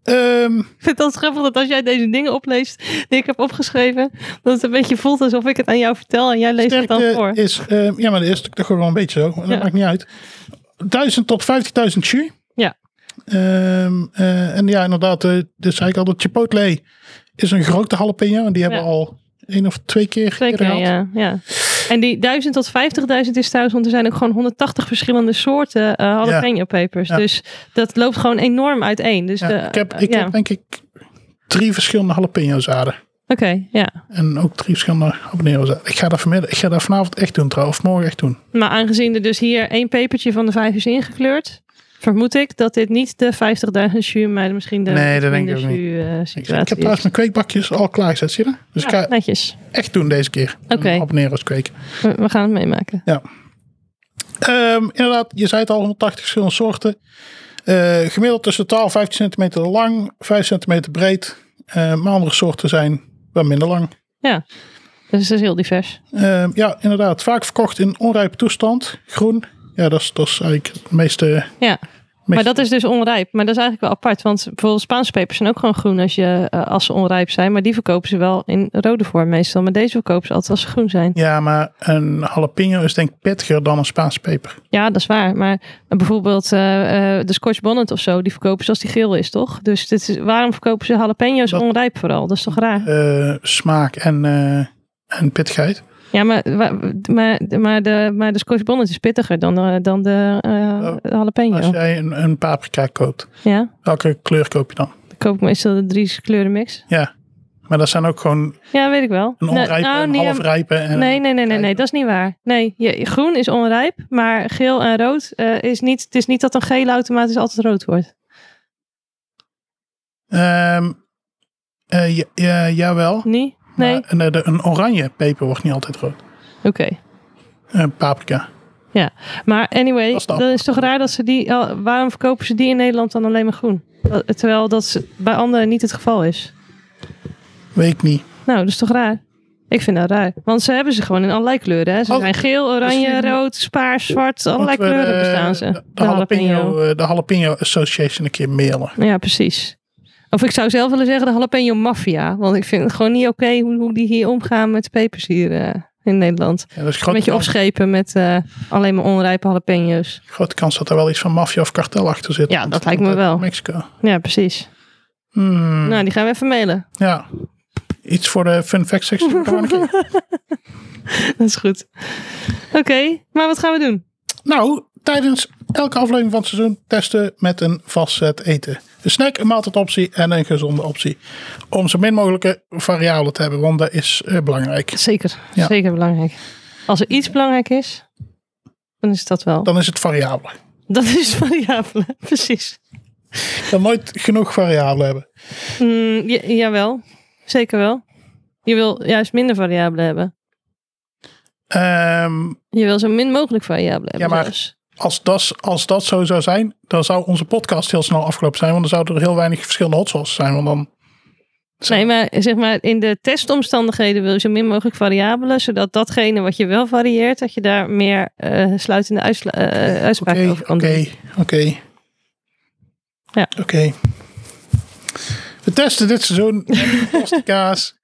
[SPEAKER 2] Ehm,
[SPEAKER 1] Ik vind het altijd grappig dat als jij deze dingen opleest die ik heb opgeschreven, dat het een beetje voelt alsof ik het aan jou vertel en jij leest het dan voor.
[SPEAKER 2] sterkte is... ehm, ja, maar dat is toch gewoon wel een beetje zo. maar Dat
[SPEAKER 1] Ja.
[SPEAKER 2] maakt niet uit. 1000 tot 50.000 jus.
[SPEAKER 1] Ja.
[SPEAKER 2] Ehm, eh, en ja, inderdaad, eh, dus zei ik al, dat Chipotle is een gerookte jalapeno. En die hebben
[SPEAKER 1] Ja.
[SPEAKER 2] we al één of twee keer
[SPEAKER 1] Twee keer,
[SPEAKER 2] gehad.
[SPEAKER 1] ja, ja. En die 1000 tot 50.000 is thuis, want er zijn ook gewoon 180 verschillende soorten eh jalapeno pepers.
[SPEAKER 2] Ja.
[SPEAKER 1] Dus dat loopt gewoon enorm uiteen. Dus
[SPEAKER 2] Ja,
[SPEAKER 1] de,
[SPEAKER 2] ik heb, ik
[SPEAKER 1] ja.
[SPEAKER 2] heb denk ik drie verschillende jalapenozaden.
[SPEAKER 1] Oké, ja.
[SPEAKER 2] En ook drie verschillende habanerozaden. Ik ga dat vanmiddag, ik ga dat vanavond echt doen trouwens. Of morgen echt doen.
[SPEAKER 1] Maar aangezien er dus hier één pepertje van de vijf is ingekleurd, vermoed ik dat dit niet de 50.000 jus, maar misschien de eh,
[SPEAKER 2] Nee, dat denk ik ook niet. Ik,
[SPEAKER 1] situatie
[SPEAKER 2] ik heb
[SPEAKER 1] is.
[SPEAKER 2] trouwens mijn kweekbakjes al klaargezet, zie je dat? Dus ik
[SPEAKER 1] Ja,
[SPEAKER 2] ga
[SPEAKER 1] netjes.
[SPEAKER 2] echt doen deze keer.
[SPEAKER 1] Oké.
[SPEAKER 2] Een habanero's kweken.
[SPEAKER 1] We, we gaan het meemaken.
[SPEAKER 2] Ehm, inderdaad, je zei het al, 180 verschillende soorten. Eh, gemiddeld tussen 12 en 15 centimeter lang, 5 centimeter breed. Eh, maar andere soorten zijn wel minder lang.
[SPEAKER 1] Ja. Dus het is heel divers.
[SPEAKER 2] Ehm, ja, inderdaad. Vaak verkocht in onrijpe toestand. Groen. Ja, dat is, dat is eigenlijk het meeste...
[SPEAKER 1] Ja.
[SPEAKER 2] meeste
[SPEAKER 1] Maar dat is dus onrijp. Maar dat is eigenlijk wel apart. Want bijvoorbeeld Spaanse pepers zijn ook gewoon groen als, je, eh, als ze onrijp zijn. Maar die verkopen ze wel in rode vorm meestal. Maar deze verkopen ze altijd als ze groen zijn.
[SPEAKER 2] Ja, maar een jalapeno is denk ik pittiger dan een Spaanse peper.
[SPEAKER 1] Ja, dat is waar. Maar eh, bijvoorbeeld eh, eh, de Scotch bonnet of zo. Die verkopen ze als die geel is, toch? Dus dit is, waarom verkopen ze jalapeno's
[SPEAKER 2] Dat-
[SPEAKER 1] onrijp vooral? Dat is toch raar?
[SPEAKER 2] Eh, smaak en, eh en pittigheid.
[SPEAKER 1] Ja, maar, wa- maar, maar, de, maar de Scotch bonnet is pittiger dan, eh, dan de eh, jalapeno.
[SPEAKER 2] Oh. Als jij een, een paprika koopt,
[SPEAKER 1] Ja,
[SPEAKER 2] welke kleur koop je dan?
[SPEAKER 1] dan koop ik meestal de drie kleuren mix.
[SPEAKER 2] Ja, maar dat zijn ook gewoon
[SPEAKER 1] Ja, weet ik wel.
[SPEAKER 2] een
[SPEAKER 1] Nou,
[SPEAKER 2] onrijpe,
[SPEAKER 1] nou,
[SPEAKER 2] een
[SPEAKER 1] die hebben-
[SPEAKER 2] halfrijpe. En,
[SPEAKER 1] Nee, nee, nee, nee, nee,
[SPEAKER 2] rijp.
[SPEAKER 1] dat is niet waar. Nee, je, groen is onrijp, maar geel en rood eh, is niet. Het is niet dat een gele automatisch altijd rood wordt.
[SPEAKER 2] Ehm, eh, ja, ja, jawel.
[SPEAKER 1] Nee? Nee?
[SPEAKER 2] Maar een, eh, de- een oranje peper wordt niet altijd rood.
[SPEAKER 1] Oké.
[SPEAKER 2] Eh, paprika.
[SPEAKER 1] Ja, maar anyway,
[SPEAKER 2] Dat is de
[SPEAKER 1] dan is toch raar dat ze die. al- Waarom verkopen ze die in Nederland dan alleen maar groen? Dat- Terwijl dat ze- bij anderen niet het geval is.
[SPEAKER 2] Weet ik niet.
[SPEAKER 1] Nou, dat is toch raar? Ik vind dat raar. Want ze hebben ze gewoon in allerlei kleuren. Hè? Ze
[SPEAKER 2] Oh,
[SPEAKER 1] zijn geel, oranje,
[SPEAKER 2] misschien-
[SPEAKER 1] rood, spaars, zwart. Allerlei
[SPEAKER 2] Moeten we
[SPEAKER 1] kleuren
[SPEAKER 2] de-
[SPEAKER 1] bestaan ze.
[SPEAKER 2] De, de jalapeno, eh, de Jalapeno Association een keer mailen.
[SPEAKER 1] Ja, precies. Of ik zou zelf willen zeggen de jalapeno maffia. Want ik vind het gewoon niet oké hoe, hoe die hier omgaan met pepers hier eh, in Nederland.
[SPEAKER 2] Ja, dat is een
[SPEAKER 1] Een
[SPEAKER 2] grote,
[SPEAKER 1] beetje
[SPEAKER 2] kans,
[SPEAKER 1] opschepen met eh, alleen maar onrijpe jalapeno's.
[SPEAKER 2] grote kans dat er wel iets van maffia of kartel achter zit.
[SPEAKER 1] Ja,
[SPEAKER 2] Want
[SPEAKER 1] dat
[SPEAKER 2] het
[SPEAKER 1] lijkt
[SPEAKER 2] komt
[SPEAKER 1] me
[SPEAKER 2] uit
[SPEAKER 1] wel.
[SPEAKER 2] Mexico.
[SPEAKER 1] Ja, precies.
[SPEAKER 2] Hmm,
[SPEAKER 1] Nou, die gaan we even mailen.
[SPEAKER 2] Ja. Iets voor de fun fact section. Kan wel een keer.
[SPEAKER 1] Dat is goed. Oké, maar wat gaan we doen?
[SPEAKER 2] nou, tijdens elke aflevering van het seizoen testen met een vast set eten. Een snack, een maaltijdoptie en een gezonde optie. Om zo min mogelijke variabelen te hebben, want dat is eh, belangrijk.
[SPEAKER 1] Zeker,
[SPEAKER 2] Ja.
[SPEAKER 1] zeker belangrijk. Als er iets belangrijk is, dan is dat wel.
[SPEAKER 2] Dan is het variabelen.
[SPEAKER 1] Dat is variabelen, precies.
[SPEAKER 2] Je kan nooit genoeg variabelen hebben.
[SPEAKER 1] Mm, ja- jawel, zeker wel. Je wil juist minder variabelen hebben.
[SPEAKER 2] Ehm,
[SPEAKER 1] Je wil zo min mogelijk variabelen hebben.
[SPEAKER 2] Ja, maar-
[SPEAKER 1] zelfs.
[SPEAKER 2] als, dat, als dat zo zou zijn, dan zou onze podcast heel snel afgelopen zijn. Want dan zouden er heel weinig verschillende hot sauces zijn. Want dan,
[SPEAKER 1] Nee, maar zeg maar, in de testomstandigheden wil je zo min mogelijk variabelen, zodat datgene wat je wel varieert, dat je daar meer eh, sluitende uitsla- eh,
[SPEAKER 2] oké,
[SPEAKER 1] uitspraken over
[SPEAKER 2] oké,
[SPEAKER 1] kan doen.
[SPEAKER 2] oké.
[SPEAKER 1] Ja.
[SPEAKER 2] Oké. We testen dit seizoen met pastakaas,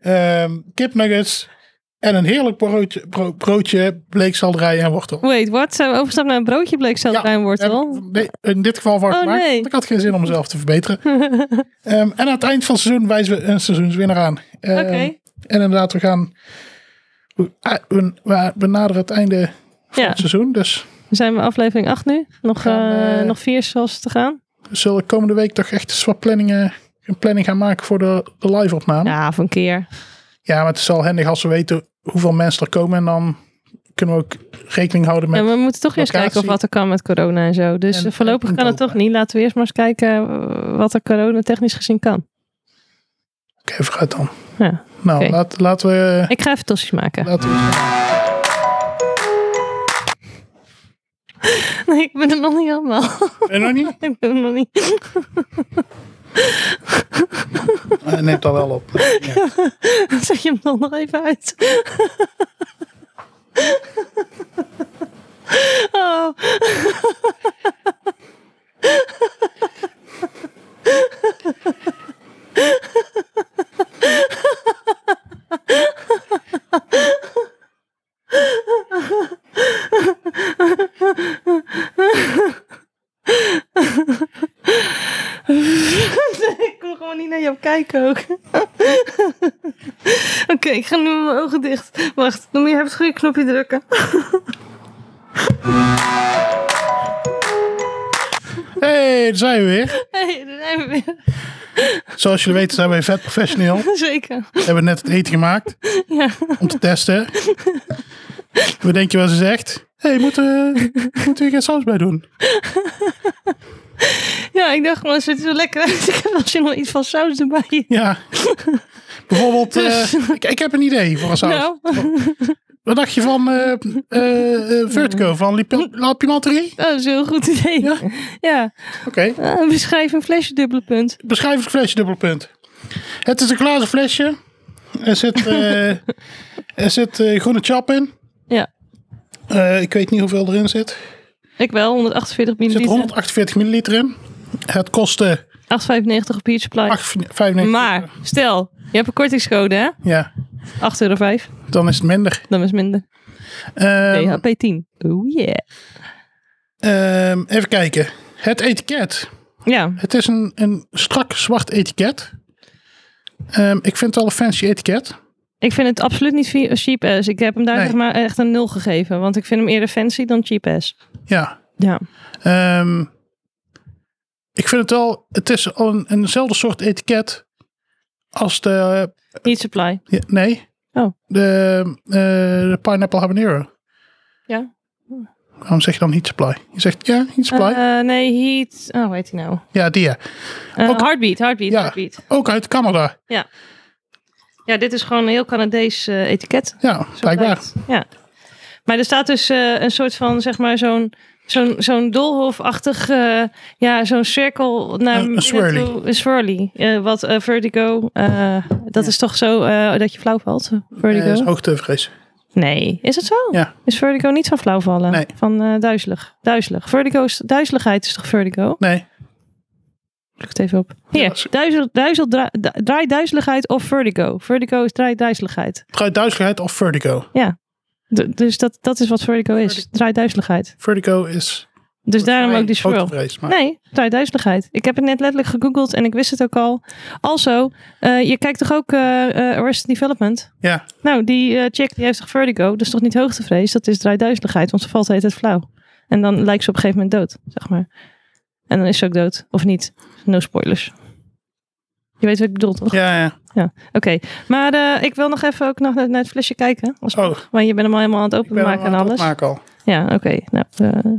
[SPEAKER 2] ehm kipnuggets en een heerlijk broodje, bro- broodje bleekselderij en wortel.
[SPEAKER 1] Wait, wat? Zijn we overgestapt naar een broodje bleekselderij en wortel?
[SPEAKER 2] Heb ik- nee, in dit geval voor
[SPEAKER 1] Oh,
[SPEAKER 2] gemaakt.
[SPEAKER 1] nee.
[SPEAKER 2] want Ik had geen zin om mezelf te verbeteren. Ehm, en aan het eind van het seizoen wijzen we een seizoenswinnaar aan. Ehm,
[SPEAKER 1] Oké.
[SPEAKER 2] En inderdaad, we gaan. We, ah, we, we- we naderen het einde van
[SPEAKER 1] Ja.
[SPEAKER 2] het seizoen. Dus
[SPEAKER 1] We zijn bij aflevering 8 nu. Nog,
[SPEAKER 2] gaan,
[SPEAKER 1] eh,
[SPEAKER 2] eh,
[SPEAKER 1] nog vier zoals te gaan.
[SPEAKER 2] we zullen komende week toch echt eens wat planningen, een planning gaan maken voor de, de live-opname. Ja.
[SPEAKER 1] Ja, van een keer.
[SPEAKER 2] maar het is wel handig als we weten hoeveel mensen er komen. En dan kunnen we ook rekening houden met.
[SPEAKER 1] en we moeten toch eerst
[SPEAKER 2] locatie.
[SPEAKER 1] kijken of wat er kan met corona en zo. Dus
[SPEAKER 2] En-
[SPEAKER 1] eh, voorlopig
[SPEAKER 2] en
[SPEAKER 1] kan het
[SPEAKER 2] inkopen.
[SPEAKER 1] toch niet. Laten we eerst maar eens kijken eh, wat er corona technisch gezien kan.
[SPEAKER 2] Oké, vooruit dan.
[SPEAKER 1] Ja.
[SPEAKER 2] Nou,
[SPEAKER 1] Oké.
[SPEAKER 2] laat, laten we.
[SPEAKER 1] Ik ga even tossies maken.
[SPEAKER 2] Laten we
[SPEAKER 1] Nee, ik ben er nog niet allemaal.
[SPEAKER 2] En nog niet?
[SPEAKER 1] ik ben er nog niet.
[SPEAKER 2] Hij neemt dat wel op. Ja.
[SPEAKER 1] Zet je hem dan nog even uit. oh. Nee, ik kon gewoon niet naar jou kijken ook. Oké, ik ga nu met mijn ogen dicht. Wacht, dan moet je even het goede knopje drukken.
[SPEAKER 2] Hey, daar zijn we weer.
[SPEAKER 1] hey, daar zijn we weer.
[SPEAKER 2] Zoals jullie weten zijn wij vet professioneel. We
[SPEAKER 1] Zeker.
[SPEAKER 2] hebben net het eten gemaakt
[SPEAKER 1] Ja.
[SPEAKER 2] om te testen. We denken wel ze zegt. Hé, hey, moeten we moeten we geen saus bij doen?
[SPEAKER 1] ja, ik dacht gewoon, het ziet er zo lekker uit. Ik heb wel zin om iets van saus erbij.
[SPEAKER 2] Ja. Bijvoorbeeld, eh, ik, ik heb een idee voor een saus.
[SPEAKER 1] Dus- Nou,
[SPEAKER 2] Wat dacht je van eh eh, eh, Vertigo, van Lipi- La Pimenterie?
[SPEAKER 1] dat is een heel goed idee.
[SPEAKER 2] Ja?
[SPEAKER 1] Ja.
[SPEAKER 2] Oké.
[SPEAKER 1] Ah, beschrijf een flesje dubbele punt.
[SPEAKER 2] Beschrijf het flesje dubbelpunt. Het is een glazen flesje. Er zit, eh, er zit eh, groene chap in.
[SPEAKER 1] Ja,
[SPEAKER 2] Eh, ik weet niet hoeveel erin zit.
[SPEAKER 1] ik wel,
[SPEAKER 2] Er
[SPEAKER 1] 148
[SPEAKER 2] zit
[SPEAKER 1] milliliter.
[SPEAKER 2] 148 milliliter in. Het kostte
[SPEAKER 1] 8,95 op Beach Supply.
[SPEAKER 2] 8,95.
[SPEAKER 1] Maar, stel, je hebt een kortingscode hè? 8,05
[SPEAKER 2] Ja,
[SPEAKER 1] euro.
[SPEAKER 2] dan is het minder.
[SPEAKER 1] Dan is minder.
[SPEAKER 2] Ehm,
[SPEAKER 1] PHP 10. Oh yeah.
[SPEAKER 2] ehm, even kijken. Het etiket.
[SPEAKER 1] Ja,
[SPEAKER 2] Het is een, een strak zwart etiket. Ehm, ik vind het wel een fancy etiket.
[SPEAKER 1] Ik vind het absoluut niet fi- cheap ass. Ik heb hem daar
[SPEAKER 2] Nee.
[SPEAKER 1] zeg maar echt een nul gegeven. Want ik vind hem eerder fancy dan cheap ass.
[SPEAKER 2] Ja.
[SPEAKER 1] Ja.
[SPEAKER 2] Ehm, ik vind het wel... Het is al een, eenzelfde soort etiket als de...
[SPEAKER 1] Niet supply.
[SPEAKER 2] ja, nee.
[SPEAKER 1] Oh.
[SPEAKER 2] De, eh, de Pineapple Habanero.
[SPEAKER 1] Ja.
[SPEAKER 2] Waarom zeg je dan niet supply? Je zegt ja, niet supply.
[SPEAKER 1] Eh, nee, heat. Oh, hoe heet hij nou?
[SPEAKER 2] ja, die ja.
[SPEAKER 1] Eh,
[SPEAKER 2] Ook-
[SPEAKER 1] heartbeat, heartbeat,
[SPEAKER 2] Ja.
[SPEAKER 1] heartbeat.
[SPEAKER 2] Ook uit Canada.
[SPEAKER 1] Ja, dit is gewoon een heel Canadees eh, etiket.
[SPEAKER 2] Ja,
[SPEAKER 1] Zo
[SPEAKER 2] blijkbaar.
[SPEAKER 1] blijkt. Ja. Maar er staat dus eh, een soort van, zeg maar, zo'n zo'n zo'n doolhofachtig, eh, ja, zo'n cirkel naar
[SPEAKER 2] Een- een
[SPEAKER 1] binnen
[SPEAKER 2] swirly.
[SPEAKER 1] toe. Een swirly. Eh, wat eh, vertigo, eh, dat is toch zo eh, dat je flauw valt? Vertigo?
[SPEAKER 2] Eh, is hoogtevrees.
[SPEAKER 1] Nee, is het zo?
[SPEAKER 2] Ja.
[SPEAKER 1] Is vertigo niet van flauw vallen?
[SPEAKER 2] Nee.
[SPEAKER 1] Van eh, duizelig. Duizelig. Vertigo is, duizeligheid is toch vertigo?
[SPEAKER 2] Nee,
[SPEAKER 1] Zoek het even op. Hier,
[SPEAKER 2] Ja, is-
[SPEAKER 1] duizel, duizel, dra- da- draai duizeligheid of vertigo. Vertigo is draai duizeligheid.
[SPEAKER 2] draait duizeligheid of vertigo.
[SPEAKER 1] D- dus dat, dat is wat vertigo is. Draai duizeligheid.
[SPEAKER 2] Vertigo is
[SPEAKER 1] Dus daarom ook die swirl.
[SPEAKER 2] hoogtevrees. Maar
[SPEAKER 1] Nee, draai duizeligheid. Ik heb het net letterlijk gegoogeld en ik wist het ook al. Also, eh, je kijkt toch ook eh eh, Arrested Development?
[SPEAKER 2] Ja.
[SPEAKER 1] Nou, die eh, chick die heeft toch vertigo? Dat is toch niet hoogtevrees? Dat is draai duizeligheid, want ze valt de hele tijd flauw. En dan lijkt ze op een gegeven moment dood, zeg maar. En dan is ze ook dood, of niet. No spoilers. Je weet wat ik bedoel, toch?
[SPEAKER 2] Ja, ja.
[SPEAKER 1] Oké, maar eh, ik wil nog even ook nog naar, naar het flesje kijken. Als,
[SPEAKER 2] Oh, ik
[SPEAKER 1] Want je bent hem al helemaal aan het
[SPEAKER 2] ben
[SPEAKER 1] openmaken en alles.
[SPEAKER 2] Maak al.
[SPEAKER 1] Ja, oké. Nou, eh,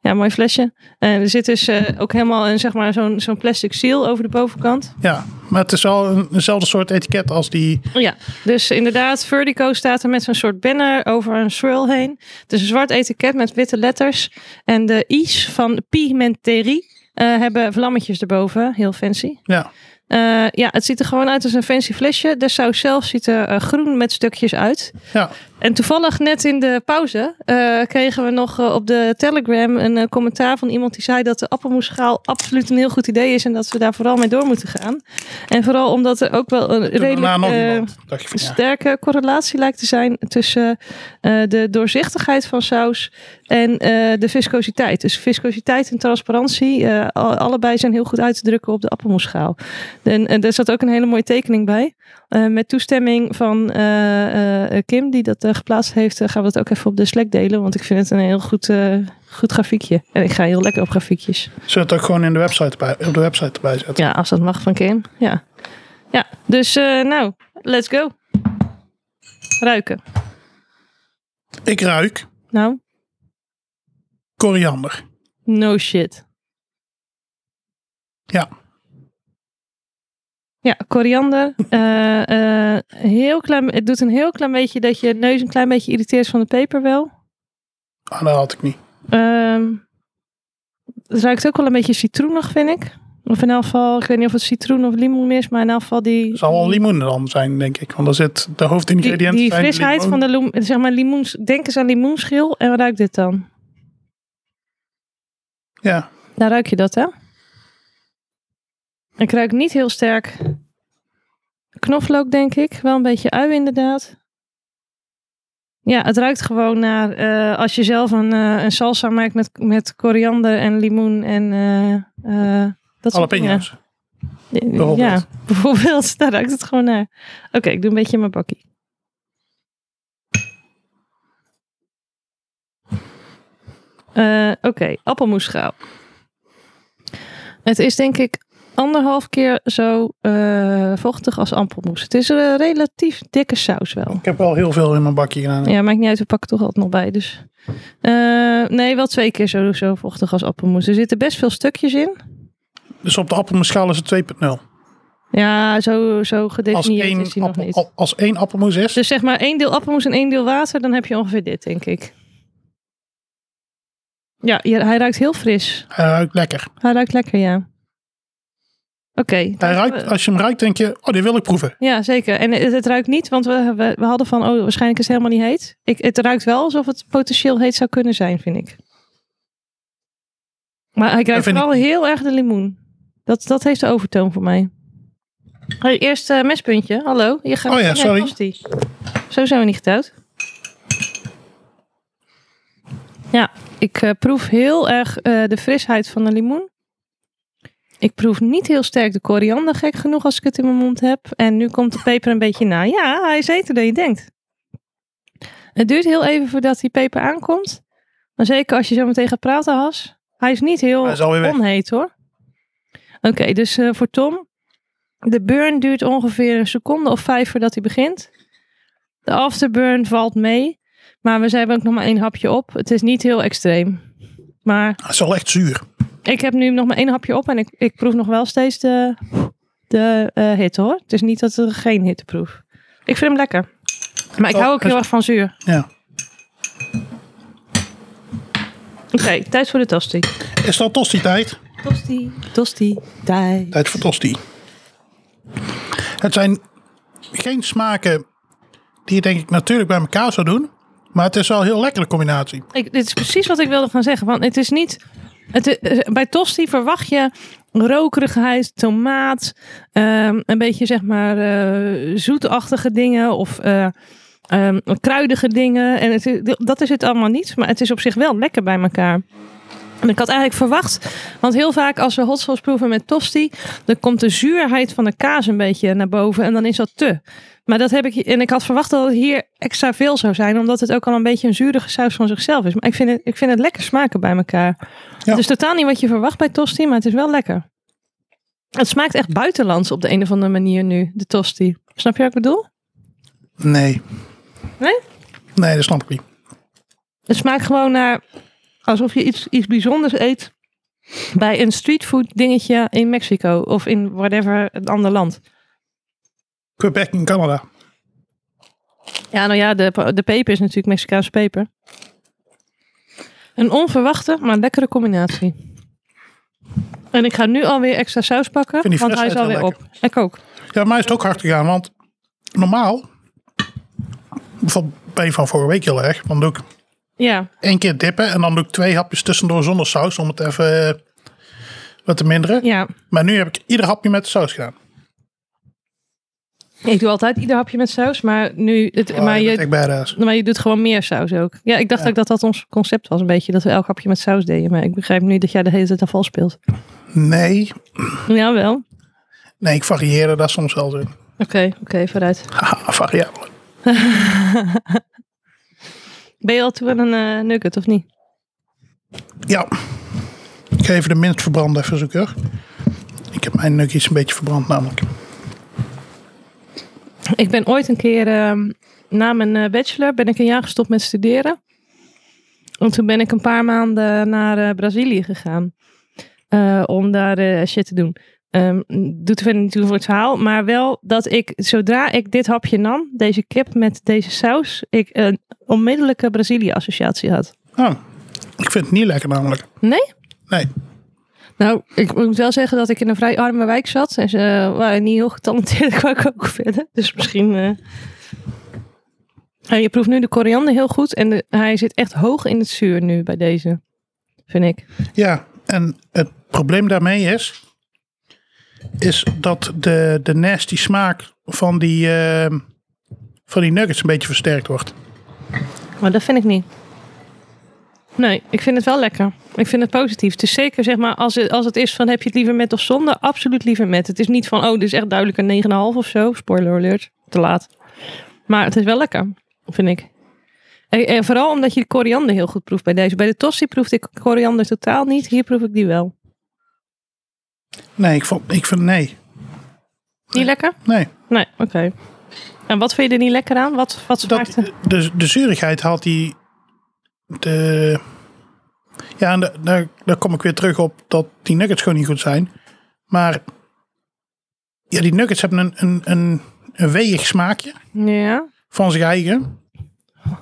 [SPEAKER 1] ja, mooi flesje. En er zit dus eh, ook helemaal een, zeg maar, zo'n zo'n plastic seal over de bovenkant.
[SPEAKER 2] Ja, maar het is wel een, eenzelfde soort etiket als die.
[SPEAKER 1] Ja, dus inderdaad, Vertigo staat er met zo'n soort banner over een swirl heen. Het is een zwart etiket met witte letters. En de I's van Pigmenterie eh, hebben vlammetjes erboven. Heel fancy.
[SPEAKER 2] Ja,
[SPEAKER 1] Eh, ja, het ziet er gewoon uit als een fancy flesje. De saus zelf ziet er eh, groen met stukjes uit.
[SPEAKER 2] ja.
[SPEAKER 1] En toevallig net in de pauze eh, kregen we nog eh, op de Telegram een eh, commentaar van iemand die zei dat de appelmoesschaal absoluut een heel goed idee is en dat we daar vooral mee door moeten gaan. En vooral omdat er ook wel een
[SPEAKER 2] Toen daarna
[SPEAKER 1] redelijk
[SPEAKER 2] nog
[SPEAKER 1] eh,
[SPEAKER 2] iemand. Dacht je van, ja.
[SPEAKER 1] sterke correlatie lijkt te zijn tussen eh, de doorzichtigheid van saus en eh, de viscositeit. Dus viscositeit en transparantie, eh, al- allebei zijn heel goed uit te drukken op de appelmoesschaal. En, en er zat ook een hele mooie tekening bij. Eh, met toestemming van eh, eh, Kim, die dat eh, geplaatst heeft, eh, gaan we dat ook even op de Slack delen. Want ik vind het een heel goed, eh, goed grafiekje. En ik ga heel lekker op grafiekjes.
[SPEAKER 2] Zullen we het ook gewoon in de website erbij, op de website erbij zetten?
[SPEAKER 1] Ja, als dat mag van Kim. Ja, ja dus eh, nou, let's go. Ruiken.
[SPEAKER 2] Ik ruik
[SPEAKER 1] Nou,
[SPEAKER 2] koriander.
[SPEAKER 1] no shit.
[SPEAKER 2] Ja.
[SPEAKER 1] Ja, koriander. Eh, eh, heel klein, het doet een heel klein beetje dat je neus een klein beetje irriteert van de peper wel.
[SPEAKER 2] Ah, dat had ik niet.
[SPEAKER 1] Ehm, het ruikt ook wel een beetje citroenig, vind ik. Of in elk geval, ik weet niet of het citroen of limoen is, maar in elk geval die...
[SPEAKER 2] Het zal wel limoen dan zijn, denk ik. Want daar zit de
[SPEAKER 1] die,
[SPEAKER 2] hoofdingrediënten.
[SPEAKER 1] die
[SPEAKER 2] zijn
[SPEAKER 1] frisheid
[SPEAKER 2] limoen.
[SPEAKER 1] van de loem, zeg maar limoens, denk eens aan limoenschil en wat ruikt dit dan?
[SPEAKER 2] Ja,
[SPEAKER 1] Daar ruik je dat, hè? Ik ruik niet heel sterk knoflook, denk ik. Wel een beetje ui, inderdaad. Ja, het ruikt gewoon naar eh, als je zelf een, eh, een salsa maakt met, met koriander en limoen en eh, eh, dat soort dingen.
[SPEAKER 2] jalapenos.
[SPEAKER 1] Bijvoorbeeld. Ja,
[SPEAKER 2] Bijvoorbeeld.
[SPEAKER 1] bijvoorbeeld. Daar ruikt het gewoon naar. Oké, ik doe een beetje in mijn bakkie. Eh, Oké, appelmoesschaal. Het is denk ik anderhalf keer zo eh, vochtig als appelmoes. Het is een relatief dikke saus wel.
[SPEAKER 2] Ik heb wel heel veel in mijn bakje gedaan.
[SPEAKER 1] Ja, maakt niet uit. We pakken toch altijd nog bij. Dus. Eh, nee, wel twee keer zo, zo vochtig als appelmoes. Er zitten best veel stukjes in.
[SPEAKER 2] Dus op de appelmoesschaal is het 2.0.
[SPEAKER 1] Ja, zo, zo
[SPEAKER 2] Als
[SPEAKER 1] gedefinieerd is hij
[SPEAKER 2] één,
[SPEAKER 1] nog
[SPEAKER 2] appel,
[SPEAKER 1] niet.
[SPEAKER 2] al- als één appelmoes is,
[SPEAKER 1] Dus zeg maar één deel appelmoes en één deel water, dan heb je ongeveer dit, denk ik. Ja, je- hij ruikt heel fris.
[SPEAKER 2] hij ruikt lekker.
[SPEAKER 1] Hij ruikt lekker, ja. Oké.
[SPEAKER 2] Hij
[SPEAKER 1] dan-
[SPEAKER 2] ruikt, als je hem ruikt, denk je, oh, die wil ik proeven.
[SPEAKER 1] Ja, zeker. En het, het ruikt niet, want we, we, we hadden van, oh, waarschijnlijk is het helemaal niet heet. Ik, het ruikt wel alsof het potentieel heet zou kunnen zijn, vind ik. Maar hij ruikt
[SPEAKER 2] vind ik
[SPEAKER 1] vooral heel erg de limoen. Dat, dat heeft de overtoon voor mij. Hey, eerst eh, mespuntje. Hallo. Je gaat
[SPEAKER 2] Oh ja,
[SPEAKER 1] jij
[SPEAKER 2] sorry.
[SPEAKER 1] past die. Zo zijn we niet getrouwd. Ja, ik eh, proef heel erg eh, de frisheid van de limoen. Ik proef niet heel sterk de koriander, gek genoeg als ik het in mijn mond heb. En nu komt de peper een beetje na. Ja, hij is eten dan je denkt. Het duurt heel even voordat die peper aankomt. Maar zeker als je zo meteen gaat praten, Has. Hij is niet heel
[SPEAKER 2] Hij is alweer weg.
[SPEAKER 1] onheet hoor. Oké, dus eh, voor Tom. De burn duurt ongeveer een seconde of vijf voordat hij begint. De afterburn valt mee. Maar we hebben ook nog maar één hapje op. Het is niet heel extreem. Maar
[SPEAKER 2] Het is wel echt zuur.
[SPEAKER 1] ik heb nu nog maar één hapje op en ik, ik proef nog wel steeds de, de eh, hitte hoor. Het is niet dat er geen hitte proef. Ik vind hem lekker. Maar ik
[SPEAKER 2] Oh,
[SPEAKER 1] hou ook
[SPEAKER 2] hij is-
[SPEAKER 1] heel erg van zuur.
[SPEAKER 2] Ja.
[SPEAKER 1] Oké, tijd voor de tosti.
[SPEAKER 2] Is het al tosti-tijd?
[SPEAKER 1] Tosti. Tosti. Tijd.
[SPEAKER 2] Tijd voor tosti. Het zijn geen smaken die je denk ik natuurlijk bij elkaar zou doen. Maar het is wel een heel lekkere combinatie.
[SPEAKER 1] Ik, dit is precies wat ik wilde gaan zeggen. Want het is niet. Het, i- eh, bij tosti verwacht je rokerigheid, tomaat, ehm, een beetje zeg maar eh, zoetachtige dingen of eh, ehm, kruidige dingen. En het, i- dat is het allemaal niet, maar het is op zich wel lekker bij elkaar. En ik had eigenlijk verwacht, want heel vaak als we hot sauce proeven met tosti, dan komt de zuurheid van de kaas een beetje naar boven en dan is dat te. Maar dat heb ik, en ik had verwacht dat het hier extra veel zou zijn, omdat het ook al een beetje een zuurige saus van zichzelf is. Maar ik vind het, ik vind het lekker smaken bij elkaar.
[SPEAKER 2] Ja.
[SPEAKER 1] Het is totaal niet wat je verwacht bij tosti, maar het is wel lekker. Het smaakt echt buitenlands op de een of andere manier nu, de tosti. Snap je wat ik bedoel?
[SPEAKER 2] Nee.
[SPEAKER 1] Nee?
[SPEAKER 2] Nee, dat snap ik niet.
[SPEAKER 1] Het smaakt gewoon naar alsof je iets, iets bijzonders eet bij een streetfood dingetje in Mexico of in whatever een ander land.
[SPEAKER 2] Quebec in Canada.
[SPEAKER 1] Ja, nou ja, de, de peper is natuurlijk Mexicaanse peper. Een onverwachte, maar lekkere combinatie. En ik ga nu alweer extra saus
[SPEAKER 2] vind
[SPEAKER 1] pakken,
[SPEAKER 2] die
[SPEAKER 1] want hij is
[SPEAKER 2] frisheid
[SPEAKER 1] alweer
[SPEAKER 2] heel
[SPEAKER 1] op. Ik ook.
[SPEAKER 2] Ja, mij is het ook hard gegaan, want normaal, bijvoorbeeld bij die van vorige week heel erg, dan doe ik
[SPEAKER 1] Ja,
[SPEAKER 2] één keer dippen en dan doe ik twee hapjes tussendoor zonder saus om het even eh, wat te minderen.
[SPEAKER 1] ja.
[SPEAKER 2] Maar nu heb ik ieder hapje met de saus gedaan.
[SPEAKER 1] Ik doe altijd ieder hapje met saus, maar nu... Het,
[SPEAKER 2] Oh,
[SPEAKER 1] maar,
[SPEAKER 2] je bent
[SPEAKER 1] je,
[SPEAKER 2] echt badass.
[SPEAKER 1] maar je doet gewoon meer saus ook. Ja, ik dacht
[SPEAKER 2] Ja.
[SPEAKER 1] ook dat dat ons concept was een beetje, dat we elk hapje met saus deden. Maar ik begrijp nu dat jij de hele tijd aan vals speelt.
[SPEAKER 2] Nee,
[SPEAKER 1] Jawel. Oké,
[SPEAKER 2] nee, ik varieerde daar soms wel in.
[SPEAKER 1] oké, vooruit.
[SPEAKER 2] Haha, variabel.
[SPEAKER 1] Ben je al toe aan een eh, nugget, of niet?
[SPEAKER 2] Ja. Ik ga even de minst verbrande even zoeken. hoor. Ik heb mijn nuggies een beetje verbrand namelijk.
[SPEAKER 1] Ik ben ooit een keer ehm, na mijn eh, bachelor ben ik een jaar gestopt met studeren. En toen ben ik een paar maanden naar eh, Brazilië gegaan. eh, om daar eh, shit te doen. Ehm, doet er verder niet toe voor het verhaal. Maar wel dat ik, zodra ik dit hapje nam, deze kip met deze saus, ik een onmiddellijke Brazilië-associatie had.
[SPEAKER 2] Oh, ik vind het niet lekker namelijk.
[SPEAKER 1] Nee?
[SPEAKER 2] Nee.
[SPEAKER 1] Nou, ik moet wel zeggen dat ik in een vrij arme wijk zat. En ze waren niet heel getalenteerd qua koken verder. Dus misschien... eh. Nou, je proeft nu de koriander heel goed. En de- hij zit echt hoog in het zuur nu bij deze. Vind ik.
[SPEAKER 2] Ja, en het probleem daarmee is... is dat de, de nasty smaak van die, ehm, van die nuggets een beetje versterkt wordt.
[SPEAKER 1] Maar dat vind ik niet. Nee, ik vind het wel lekker. Ik vind het positief. Het is zeker, zeg maar, als het, als het is van heb je het liever met of zonder, absoluut liever met. Het is niet van, oh, dit is echt duidelijk een 9,5 of zo. Spoiler alert, te laat. Maar het is wel lekker, vind ik. En, en vooral omdat je de koriander heel goed proeft bij deze. Bij de Tossi proefde ik koriander totaal niet. Hier proef ik die wel.
[SPEAKER 2] Nee, ik, vond, ik vind... Nee,
[SPEAKER 1] Niet lekker?
[SPEAKER 2] nee.
[SPEAKER 1] Nee, oké. En wat vind je er niet lekker aan? Wat, wat smaakt
[SPEAKER 2] Dat,
[SPEAKER 1] er?
[SPEAKER 2] de, de zuurigheid haalt die... De, ja, en de- daar, daar kom ik weer terug op dat die nuggets gewoon niet goed zijn. Maar ja, die nuggets hebben een, een, een, een weeg smaakje
[SPEAKER 1] Ja,
[SPEAKER 2] van zich eigen.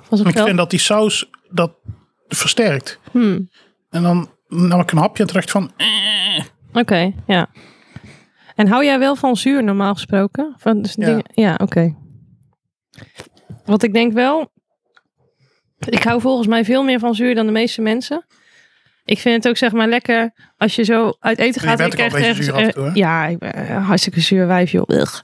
[SPEAKER 1] was het
[SPEAKER 2] Ik
[SPEAKER 1] wel.
[SPEAKER 2] vind dat die saus dat versterkt.
[SPEAKER 1] Hmm.
[SPEAKER 2] En dan nam ik een hapje en terecht van... eh,
[SPEAKER 1] Oké, ja. En hou jij wel van zuur normaal gesproken? Van, dus
[SPEAKER 2] Ja.
[SPEAKER 1] dingen- ja, oké. Want ik denk wel, ik hou volgens mij veel meer van zuur dan de meeste mensen. Ik vind het ook zeg maar lekker als je zo uit eten
[SPEAKER 2] Je
[SPEAKER 1] gaat. en
[SPEAKER 2] bent ook
[SPEAKER 1] krijgt
[SPEAKER 2] al een beetje zuur af en toe, hè?
[SPEAKER 1] ja, ik ben een hartstikke zuur wijf, joh. Ugh.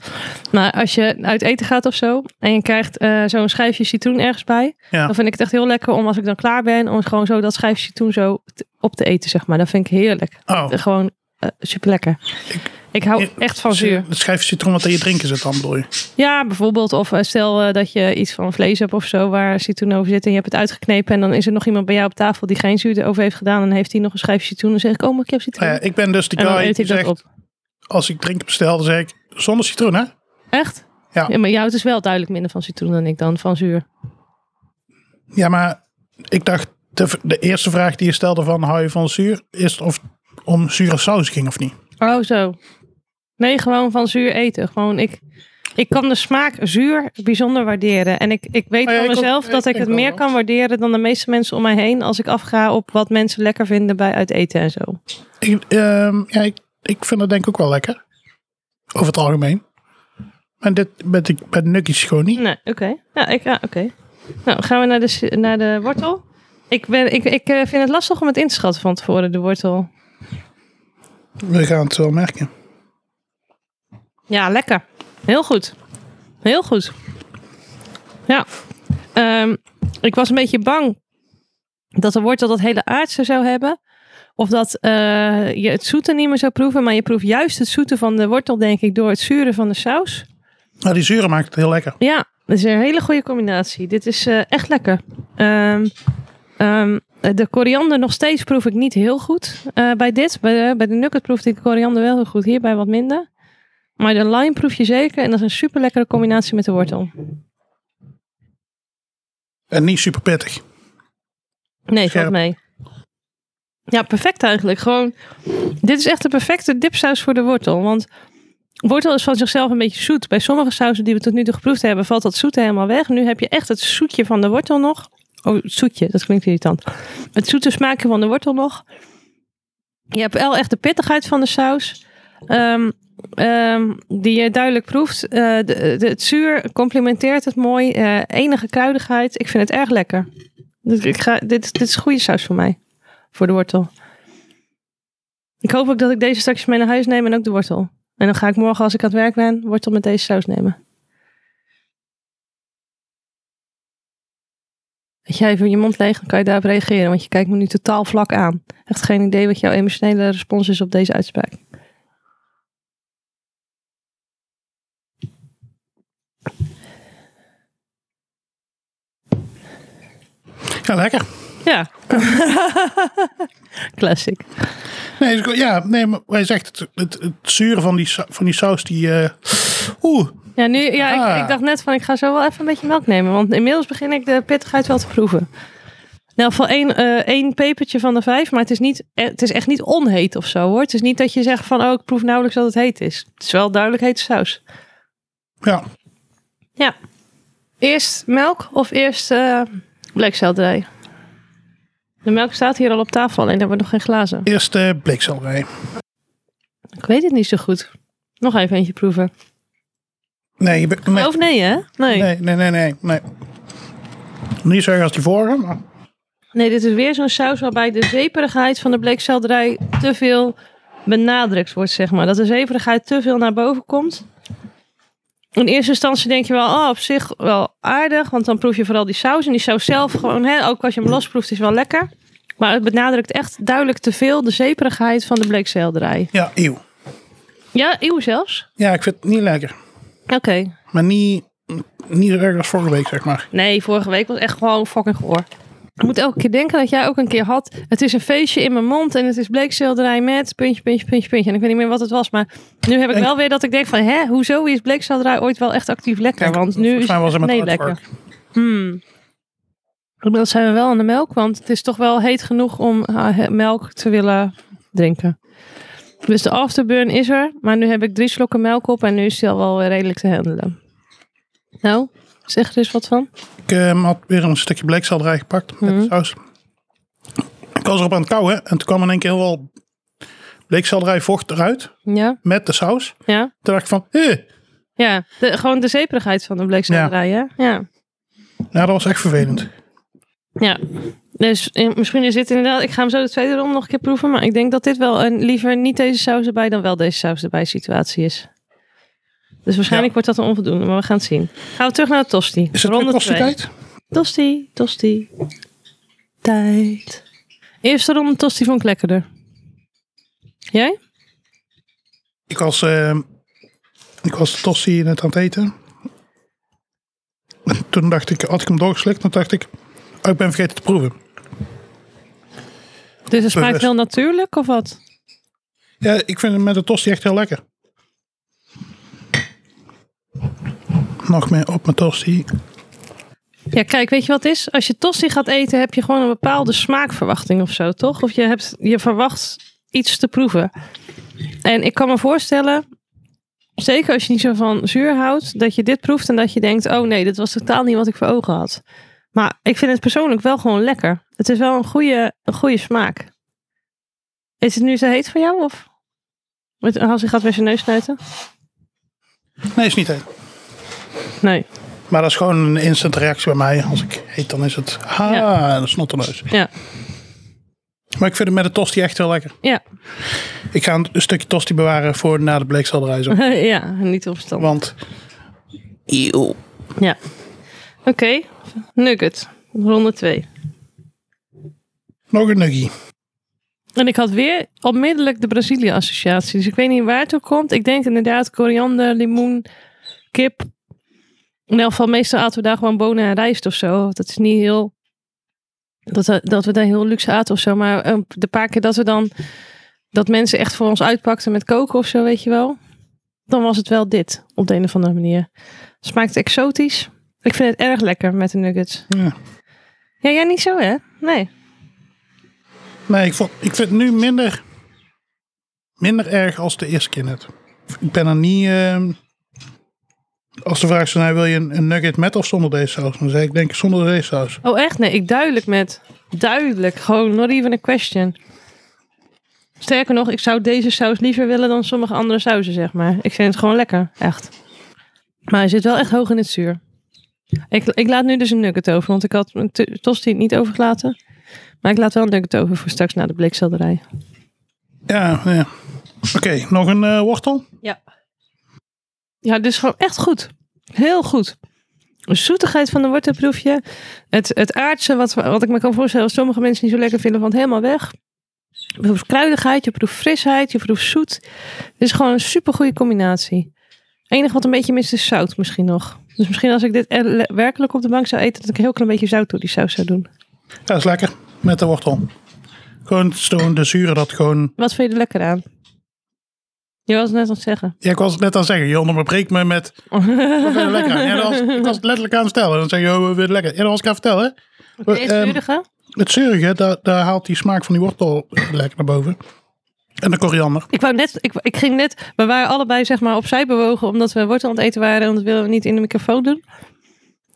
[SPEAKER 1] Maar als je uit eten gaat of zo en je krijgt eh, zo'n schijfje citroen ergens bij,
[SPEAKER 2] Ja.
[SPEAKER 1] dan vind ik het echt heel lekker om als ik dan klaar ben, om gewoon zo dat schijfje citroen zo te- op te eten, zeg maar. Dat vind ik heerlijk.
[SPEAKER 2] Oh,
[SPEAKER 1] Gewoon super lekker. Ik, hou
[SPEAKER 2] Ja,
[SPEAKER 1] echt van zuur.
[SPEAKER 2] het schijfje citroen wat in je drinken zit dan, bedoel je?
[SPEAKER 1] Ja, bijvoorbeeld. Of eh, stel eh, dat je iets van vlees hebt of zo waar citroen over zit en je hebt het uitgeknepen. En dan is er nog iemand bij jou op tafel die geen zuur erover heeft gedaan. En heeft hij nog een schijfje citroen. En zeg ik, oh, maar ik heb citroen.
[SPEAKER 2] Nou ja, ik ben dus die
[SPEAKER 1] en dan
[SPEAKER 2] guy
[SPEAKER 1] eet
[SPEAKER 2] die
[SPEAKER 1] ik dat
[SPEAKER 2] zegt,
[SPEAKER 1] op.
[SPEAKER 2] als ik drinken bestel, dan zeg ik... Zonder citroen, hè?
[SPEAKER 1] Echt?
[SPEAKER 2] Ja.
[SPEAKER 1] Maar jou, het is wel duidelijk minder van citroen dan ik dan, van zuur.
[SPEAKER 2] Ja, maar ik dacht, de, de eerste vraag die je stelde van hou je van zuur, is of het om zure saus ging of niet.
[SPEAKER 1] Oh, zo. Nee, gewoon van zuur eten. Gewoon ik. Ik kan de smaak zuur bijzonder waarderen. En ik, ik weet
[SPEAKER 2] Oh ja,
[SPEAKER 1] van
[SPEAKER 2] ik ook-
[SPEAKER 1] mezelf
[SPEAKER 2] ik
[SPEAKER 1] dat ik,
[SPEAKER 2] denk
[SPEAKER 1] het
[SPEAKER 2] wel
[SPEAKER 1] meer
[SPEAKER 2] wel.
[SPEAKER 1] kan waarderen dan de meeste mensen om mij heen. Als ik afga op wat mensen lekker vinden bij uit eten en zo.
[SPEAKER 2] Ik, ehm, ja, ik, ik vind dat denk ik ook wel lekker. Over het algemeen. Maar dit met, die- met nuggies gewoon niet.
[SPEAKER 1] Nee, oké. Ja, ik, ja, oké. Nou, gaan we naar de, s- naar de wortel. Ik, ben, ik, ik eh, vind het lastig om het in te schatten van tevoren, de wortel.
[SPEAKER 2] We gaan het wel merken.
[SPEAKER 1] Ja, lekker. Heel goed. Heel goed. Ja. Ehm, ik was een beetje bang dat de wortel dat hele aardse zou hebben. Of dat eh, je het zoete niet meer zou proeven. Maar je proeft juist het zoete van de wortel, denk ik, door het zure van de saus.
[SPEAKER 2] Nou, die zuren maakt het heel lekker.
[SPEAKER 1] Ja, dat is een hele goede combinatie. Dit is eh, echt lekker. Ehm, ehm, de koriander nog steeds proef ik niet heel goed eh, bij dit. Bij de, bij de nugget proefde ik de koriander wel heel goed. Hierbij wat minder. Maar de lime proef je zeker. En dat is een super lekkere combinatie met de wortel.
[SPEAKER 2] En niet super pittig.
[SPEAKER 1] Nee,
[SPEAKER 2] Scherp.
[SPEAKER 1] valt mee. Ja, perfect eigenlijk. Gewoon, dit is echt de perfecte dipsaus voor de wortel. Want wortel is van zichzelf een beetje zoet. Bij sommige sausen die we tot nu toe geproefd hebben, valt dat zoete helemaal weg. Nu heb je echt het zoetje van de wortel nog. Oh, het zoetje, dat klinkt irritant. Het zoete smaakje van de wortel nog. Je hebt wel echt de pittigheid van de saus. ehm, ehm, die je duidelijk proeft. Eh, de, de- het zuur complementeert het mooi. Eh, enige kruidigheid. Ik vind het erg lekker. Dus ik ga, dit, dit is goede saus voor mij. Voor de wortel. Ik hoop ook dat ik deze straks mee naar huis neem en ook de wortel. En dan ga ik morgen, als ik aan het werk ben, wortel met deze saus nemen. Weet jij even je mond leeg, dan kan je daarop reageren. Want je kijkt me nu totaal vlak aan. Echt geen idee wat jouw emotionele respons is op deze uitspraak.
[SPEAKER 2] Ja, lekker.
[SPEAKER 1] Ja. Classic.
[SPEAKER 2] Nee, is goed. ja, nee maar hij zegt het, het, het zuren van die, sa- van die saus, die... eh, Oeh,
[SPEAKER 1] Ja, nu, ja ik- ik,
[SPEAKER 2] Ah.
[SPEAKER 1] dacht net van ik ga zo wel even een beetje melk nemen. Want inmiddels begin ik de pittigheid wel te proeven. Nou, van één, eh, één pepertje van de vijf. Maar het is, niet, eh, het is echt niet onheet of zo hoor. Het is niet dat je zegt van oh, ik proef nauwelijks dat het heet is. Het is wel duidelijk hete saus.
[SPEAKER 2] ja.
[SPEAKER 1] Ja. Eerst melk of eerst eh bleekselderij? De melk staat hier al op tafel, alleen hebben we nog geen glazen.
[SPEAKER 2] Eerst eh bleekselderij.
[SPEAKER 1] Ik weet het niet zo goed. Nog even eentje proeven.
[SPEAKER 2] Nee, je bent- nee,
[SPEAKER 1] Of nee, hè? Nee. nee.
[SPEAKER 2] nee, nee, nee, nee, nee. Niet zo erg als die vorige, maar...
[SPEAKER 1] dit is weer zo'n saus waarbij de zeperigheid van de bleekselderij te veel benadrukt wordt, zeg maar. Dat de zeperigheid te veel naar boven komt. In eerste instantie denk je wel, oh, op zich wel aardig, want dan proef je vooral die saus. En die saus zelf gewoon, hè, ook als je hem losproeft, is wel lekker. Maar het benadrukt echt duidelijk te veel de zeperigheid van de bleekselderij.
[SPEAKER 2] Ja, eeuw.
[SPEAKER 1] Ja, eeuw zelfs.
[SPEAKER 2] Ja, ik vind het niet lekker.
[SPEAKER 1] Oké.
[SPEAKER 2] Maar niet, niet zo erg als vorige week, zeg maar.
[SPEAKER 1] Nee, vorige week was echt gewoon fucking goor. Ik moet elke keer denken dat jij ook een keer had. Het is een feestje in mijn mond en het is bleekselderij met puntje, puntje, puntje, puntje. En ik weet niet meer wat het was, maar nu heb ik
[SPEAKER 2] Denk-
[SPEAKER 1] wel weer dat ik denk van, hè, hoezo is bleekselderij ooit wel echt actief lekker?
[SPEAKER 2] Kijk,
[SPEAKER 1] Want nu is
[SPEAKER 2] volgens mij was
[SPEAKER 1] het
[SPEAKER 2] er met
[SPEAKER 1] nee
[SPEAKER 2] artwork.
[SPEAKER 1] lekker. Hmm. Inmiddels zijn we wel aan de melk, want het is toch wel heet genoeg om ah, he- melk te willen drinken. Dus de afterburn is er, maar nu heb ik drie slokken melk op en nu is die al wel weer redelijk te handelen. Nou, zeg er eens wat van.
[SPEAKER 2] Ik eh, had weer een stukje bleekselderij gepakt
[SPEAKER 1] Mhm.
[SPEAKER 2] met saus. Ik was erop aan het kouwen en toen kwam in één keer heel wel bleekselderij vocht eruit
[SPEAKER 1] Ja,
[SPEAKER 2] met de saus.
[SPEAKER 1] ja.
[SPEAKER 2] Toen dacht ik van, eh.
[SPEAKER 1] Ja, de, gewoon de zeperigheid van de bleekselderij, ja. hè? Ja.
[SPEAKER 2] Ja, nou, dat was echt vervelend.
[SPEAKER 1] ja. Dus eh, misschien is dit inderdaad... Ik ga hem zo de tweede ronde nog een keer proeven. Maar ik denk dat dit wel een liever niet deze saus erbij... dan wel deze saus erbij situatie is. Dus waarschijnlijk wordt dat een onvoldoende. Maar we gaan het zien. Gaan we terug naar de tosti.
[SPEAKER 2] Is het weer kost die
[SPEAKER 1] twee.
[SPEAKER 2] tijd?
[SPEAKER 1] Tosti, tosti. Tijd. Eerste ronde tosti vond ik lekkerder. Jij? Dus
[SPEAKER 2] Ik was, eh, ik was de tosti net aan het eten. En toen dacht ik, had ik hem doorgeslikt. Toen dacht ik, oh, ik ben vergeten te proeven.
[SPEAKER 1] Dus het smaakt
[SPEAKER 2] Bewust.
[SPEAKER 1] heel natuurlijk of wat?
[SPEAKER 2] Ja, ik vind hem met de tosti echt heel lekker. Nog meer op mijn tosti.
[SPEAKER 1] Ja, kijk, weet je wat het is? Als je tosti gaat eten, heb je gewoon een bepaalde smaakverwachting of zo, toch? Of je, hebt, je verwacht iets te proeven. En ik kan me voorstellen zeker als je niet zo van zuur houdt, dat je dit proeft en dat je denkt, oh nee, dit was totaal niet wat ik voor ogen had. Maar ik vind het persoonlijk wel gewoon lekker. Het is wel een goede, een goede smaak. Is het nu zo heet voor jou? Of? Met- Hansi gaat weer zijn neus snuiten?
[SPEAKER 2] Nee, is niet heet.
[SPEAKER 1] Nee.
[SPEAKER 2] Maar dat is gewoon een instant reactie bij mij. Als ik heet, dan is het. Ah, een snotterneus.
[SPEAKER 1] Ja.
[SPEAKER 2] Maar ik vind het met de tosti echt heel lekker.
[SPEAKER 1] Ja.
[SPEAKER 2] Ik ga een, een stukje tosti bewaren voor na de bleekselderij.
[SPEAKER 1] Mhm.
[SPEAKER 2] zo.
[SPEAKER 1] ja, niet opstand.
[SPEAKER 2] Want. Eeuw.
[SPEAKER 1] Ja. Oké, nugget. Ronde 2.
[SPEAKER 2] Nog een nuggie.
[SPEAKER 1] En ik had weer onmiddellijk de Brazilië-associatie. Dus ik weet niet waar het toe komt. Ik denk inderdaad koriander, limoen, kip. In elk geval, meestal aten we daar gewoon bonen en rijst of zo. Dat is niet heel... Dat, dat we daar heel luxe aten of zo. Maar eh, de paar keer dat we dan... Dat mensen echt voor ons uitpakten met koken of zo, weet je wel. Dan was het wel dit, op de een of andere manier. Smaakt exotisch. Ik vind het erg lekker met de nuggets.
[SPEAKER 2] Ja.
[SPEAKER 1] Ja, jij niet zo, hè? Nee.
[SPEAKER 2] Nee, ik, vond, ik vind het nu minder, minder erg als de eerste keer net. Ik ben er niet... ehm, als de vraag is, van, nou, wil je een, een nugget met of zonder deze saus? Dan zeg ik denk ik zonder deze saus.
[SPEAKER 1] Oh, echt? Nee, ik duidelijk met. Duidelijk. Gewoon not even a question. Sterker nog, ik zou deze saus liever willen dan sommige andere sauzen, zeg maar. Ik vind het gewoon lekker. Echt. Maar hij zit wel echt hoog in het zuur. Ik, ik laat nu dus een nugget over, want ik had mijn to- tosti niet overgelaten. Maar ik laat wel een nugget over voor straks na de bleekselderij.
[SPEAKER 2] Ja, ja. Oké, nog een eh, wortel?
[SPEAKER 1] Ja. Ja, dus gewoon echt goed. Heel goed. De zoetigheid van de wortel proef je. Het, het aardse, wat, wat ik me kan voorstellen, wat sommige mensen niet zo lekker vinden, van het helemaal weg. Je proeft kruidigheid, je proeft frisheid, je proeft zoet. Het is gewoon een supergoeie combinatie. Het enige wat een beetje mist is zout misschien nog. Dus misschien als ik dit er- le- werkelijk op de bank zou eten, dat ik een heel klein beetje zout door die saus zou doen.
[SPEAKER 2] Ja, dat is lekker. Met de wortel. Gewoon zo de zure dat gewoon...
[SPEAKER 1] Wat vind je er lekker aan? Je was het net aan het zeggen.
[SPEAKER 2] Ja, ik was het net aan het zeggen. Je onderbreekt me met... Wat vind je er lekker aan? Ja, dat was, ik was het letterlijk aan het vertellen. Dan zeg je, oh, wat vind je lekker? Ja, dat was ik aan het vertellen.
[SPEAKER 1] Deze
[SPEAKER 2] Ehm,
[SPEAKER 1] zuurige?
[SPEAKER 2] Het zurige, daar, daar haalt die smaak van die wortel lekker naar boven. En de koriander.
[SPEAKER 1] Ik, wou net, ik, ik ging net, we waren allebei zeg maar opzij bewogen omdat we wortel aan het eten waren en dat wilden we niet in de microfoon doen.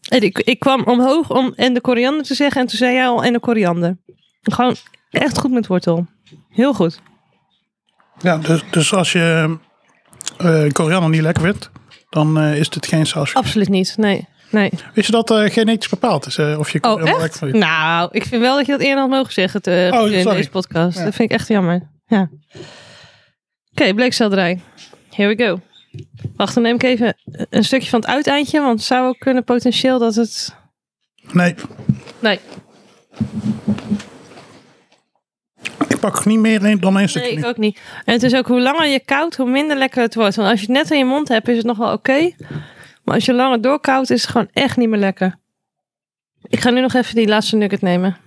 [SPEAKER 1] En ik, ik kwam omhoog om en de koriander te zeggen en toen zei jij al en de koriander. Gewoon echt goed met wortel. Heel goed.
[SPEAKER 2] Ja, dus, dus als je eh, koriander niet lekker vindt, dan eh, is dit geen saus.
[SPEAKER 1] Absoluut niet, nee. nee.
[SPEAKER 2] Wist je dat eh, genetisch bepaald is? eh, of je
[SPEAKER 1] Oh,
[SPEAKER 2] koriander
[SPEAKER 1] echt?
[SPEAKER 2] vindt?
[SPEAKER 1] Nou, ik vind wel dat je dat eerder had mogen zeggen te-
[SPEAKER 2] Oh,
[SPEAKER 1] in
[SPEAKER 2] sorry.
[SPEAKER 1] deze podcast.
[SPEAKER 2] Ja.
[SPEAKER 1] Dat vind ik echt jammer. Ja. Oké, bleekselderij. Here we go. Wacht, dan neem ik even een stukje van het uiteindje, want het zou ook kunnen potentieel dat het
[SPEAKER 2] Nee,
[SPEAKER 1] Nee.
[SPEAKER 2] ik pak niet meer een, dan één stukje.
[SPEAKER 1] Nee, ik
[SPEAKER 2] nu.
[SPEAKER 1] ook niet. En het is ook hoe langer je koudt, hoe minder lekker het wordt. Want als je het net in je mond hebt, is het nog wel oké. Maar als je langer doorkoudt, is het gewoon echt niet meer lekker. Ik ga nu nog even die laatste nugget nemen.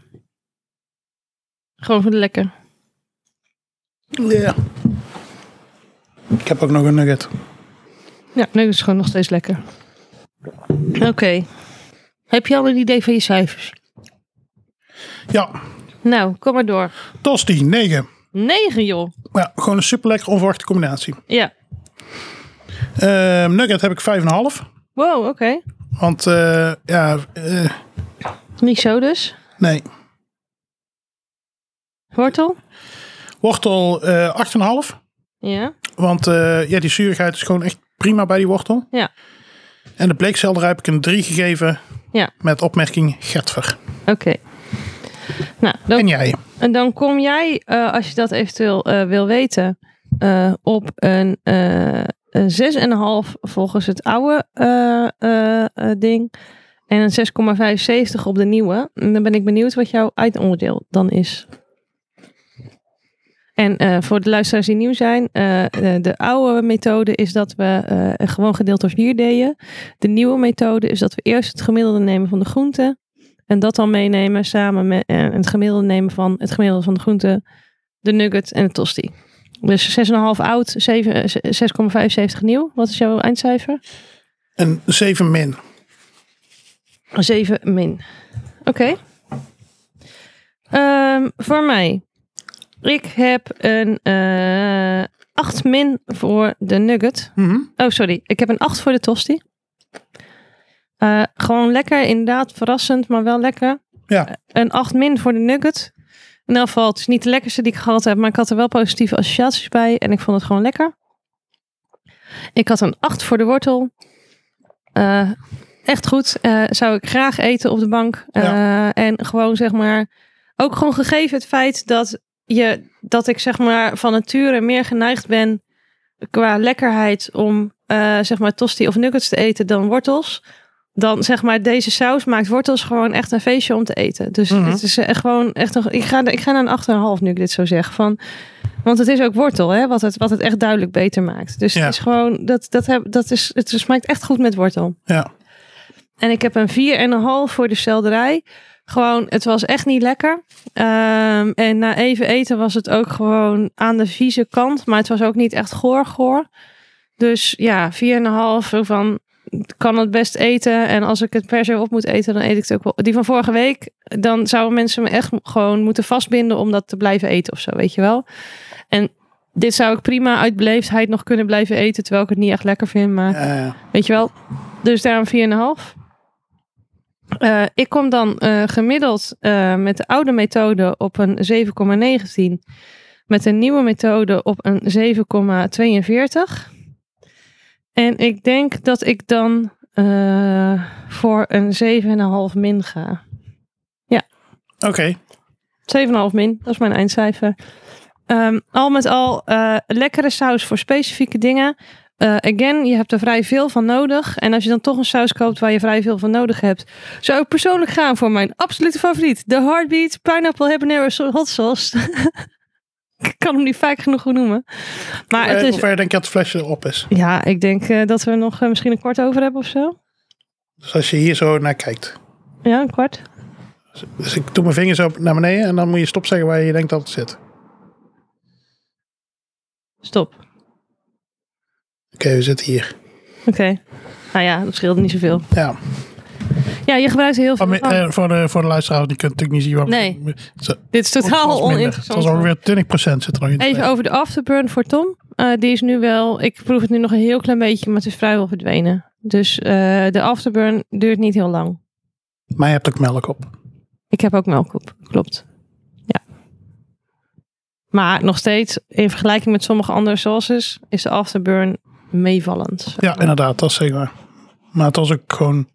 [SPEAKER 1] Gewoon voor de lekker.
[SPEAKER 2] Ja. Ik heb ook nog een nugget.
[SPEAKER 1] Ja, nugget is gewoon nog steeds lekker. Oké. Heb je al een idee van je cijfers?
[SPEAKER 2] Ja,
[SPEAKER 1] Nou, kom maar door.
[SPEAKER 2] tosti, 9.
[SPEAKER 1] 9, joh.
[SPEAKER 2] Ja, gewoon een super lekker onverwachte combinatie.
[SPEAKER 1] Ja.
[SPEAKER 2] Eh, nugget heb ik 5,5.
[SPEAKER 1] Wow, oké.
[SPEAKER 2] Want eh, ja, eh,
[SPEAKER 1] Niet zo dus.
[SPEAKER 2] nee.
[SPEAKER 1] Wortel?
[SPEAKER 2] Wortel eh 8,5.
[SPEAKER 1] Ja.
[SPEAKER 2] Want eh, ja, die zuurigheid is gewoon echt prima bij die wortel.
[SPEAKER 1] Ja.
[SPEAKER 2] En de bleekselderij heb ik een 3 gegeven.
[SPEAKER 1] Ja.
[SPEAKER 2] Met opmerking Getver.
[SPEAKER 1] Oké. Nou, dan
[SPEAKER 2] En jij?
[SPEAKER 1] En dan kom jij, eh, als je dat eventueel eh, wil weten, eh, op een, eh, een 6,5 volgens het oude eh, eh, eh, ding. En een 6,75 op de nieuwe. En dan ben ik benieuwd wat jouw eindonderdeel dan is. En eh, voor de luisteraars die nieuw zijn, eh, eh, de oude methode is dat we eh, gewoon gedeeld door 4 deden. De nieuwe methode is dat we eerst het gemiddelde nemen van de groenten. En dat dan meenemen samen met en het gemiddelde nemen van het gemiddelde van de groente, de nugget en de tosti. Dus 6,5 oud, zeven- eh, zes- 6,75 nieuw. Wat is jouw eindcijfer?
[SPEAKER 2] Een 7 min.
[SPEAKER 1] 7 min. Oké. Ehm, voor mij. Ik heb een eh 8 min voor de nugget.
[SPEAKER 2] Mhm.
[SPEAKER 1] Oh, sorry. Ik heb een 8 voor de tosti. Eh, gewoon lekker, inderdaad. Verrassend, maar wel lekker.
[SPEAKER 2] Ja.
[SPEAKER 1] Eh, Een 8 min voor de nugget. In elk geval, het is niet de lekkerste die ik gehad heb, maar ik had er wel positieve associaties bij en ik vond het gewoon lekker. Ik had een 8 voor de wortel. Eh, echt goed. Eh, zou ik graag eten op de bank. Eh, En gewoon zeg maar, ook gewoon gegeven het feit dat, je, dat ik zeg maar van nature meer geneigd ben qua lekkerheid om eh, zeg maar tosti of nuggets te eten dan wortels. Dan zeg maar deze saus maakt wortels gewoon echt een feestje om te eten. Dus
[SPEAKER 2] Mhm.
[SPEAKER 1] het is echt gewoon echt nog. Ik ga, ik ga naar een 8,5 nu ik dit zo zeg. Van, want het is ook wortel, hè, wat, het, wat het echt duidelijk beter maakt. Dus
[SPEAKER 2] Ja.
[SPEAKER 1] het is gewoon, dat, dat heb, dat is, het smaakt echt goed met wortel.
[SPEAKER 2] Ja.
[SPEAKER 1] En ik heb een 4,5 voor de selderij. Gewoon, het was echt niet lekker. Ehm, en na even eten was het ook gewoon aan de vieze kant. Maar het was ook niet echt goor-goor. Dus ja, 4,5 van ik kan het best eten. En als ik het per se op moet eten, dan eet ik het ook wel. Die van vorige week, dan zouden mensen me echt gewoon moeten vastbinden om dat te blijven eten of zo, weet je wel. En dit zou ik prima uit beleefdheid nog kunnen blijven eten, terwijl ik het niet echt lekker vind. Maar
[SPEAKER 2] Eh,
[SPEAKER 1] Weet je wel? Dus daarom 4,5. Eh, ik kom dan eh, gemiddeld eh, met de oude methode op een 7,19. Met de nieuwe methode op een 7,42. En ik denk dat ik dan eh, voor een 7,5 min ga.
[SPEAKER 2] Oké.
[SPEAKER 1] 7,5 min, dat is mijn eindcijfer. Ehm, al met al, eh, lekkere saus voor specifieke dingen. Eh, again, je hebt er vrij veel van nodig. En als je dan toch een saus koopt waar je vrij veel van nodig hebt, zou ik persoonlijk gaan voor mijn absolute favoriet: de Heartbeat Pineapple Habanero so- Hot Sauce. ik kan hem niet vaak genoeg goed noemen. Maar
[SPEAKER 2] Eh,
[SPEAKER 1] het
[SPEAKER 2] Hoe
[SPEAKER 1] is.
[SPEAKER 2] ver denk je dat het flesje op is?
[SPEAKER 1] Ja, ik denk eh, dat we er nog eh, misschien een kwart over hebben of zo.
[SPEAKER 2] Dus als je hier zo naar kijkt.
[SPEAKER 1] Ja, een kwart.
[SPEAKER 2] Dus ik doe mijn vingers op naar beneden en dan moet je stop zeggen waar je denkt dat het zit. Oké,
[SPEAKER 1] Stop.
[SPEAKER 2] we zitten hier.
[SPEAKER 1] Oké. Nou ja, dat scheelde niet zoveel.
[SPEAKER 2] Ja.
[SPEAKER 1] Ja, je gebruikt er heel veel.
[SPEAKER 2] Maar,
[SPEAKER 1] van.
[SPEAKER 2] eh, voor, de, voor de luisteraars, die kunnen natuurlijk niet zien. Wat
[SPEAKER 1] Nee.
[SPEAKER 2] Zo,
[SPEAKER 1] Dit is
[SPEAKER 2] het
[SPEAKER 1] totaal
[SPEAKER 2] was minder. Het was
[SPEAKER 1] oninteressant.
[SPEAKER 2] ongeveer 20% zit er nog in.
[SPEAKER 1] Even over de afterburn voor Tom. Eh, die is nu wel, ik proef het nu nog een heel klein beetje, maar het is vrijwel verdwenen. Dus eh, de afterburn duurt niet heel lang.
[SPEAKER 2] Maar je hebt ook melk op.
[SPEAKER 1] Ik heb ook melk op, klopt. Ja. Maar nog steeds, in vergelijking met sommige andere sauces, is de afterburn meevallend.
[SPEAKER 2] Ja, inderdaad, dat zeg maar. Maar het was ook gewoon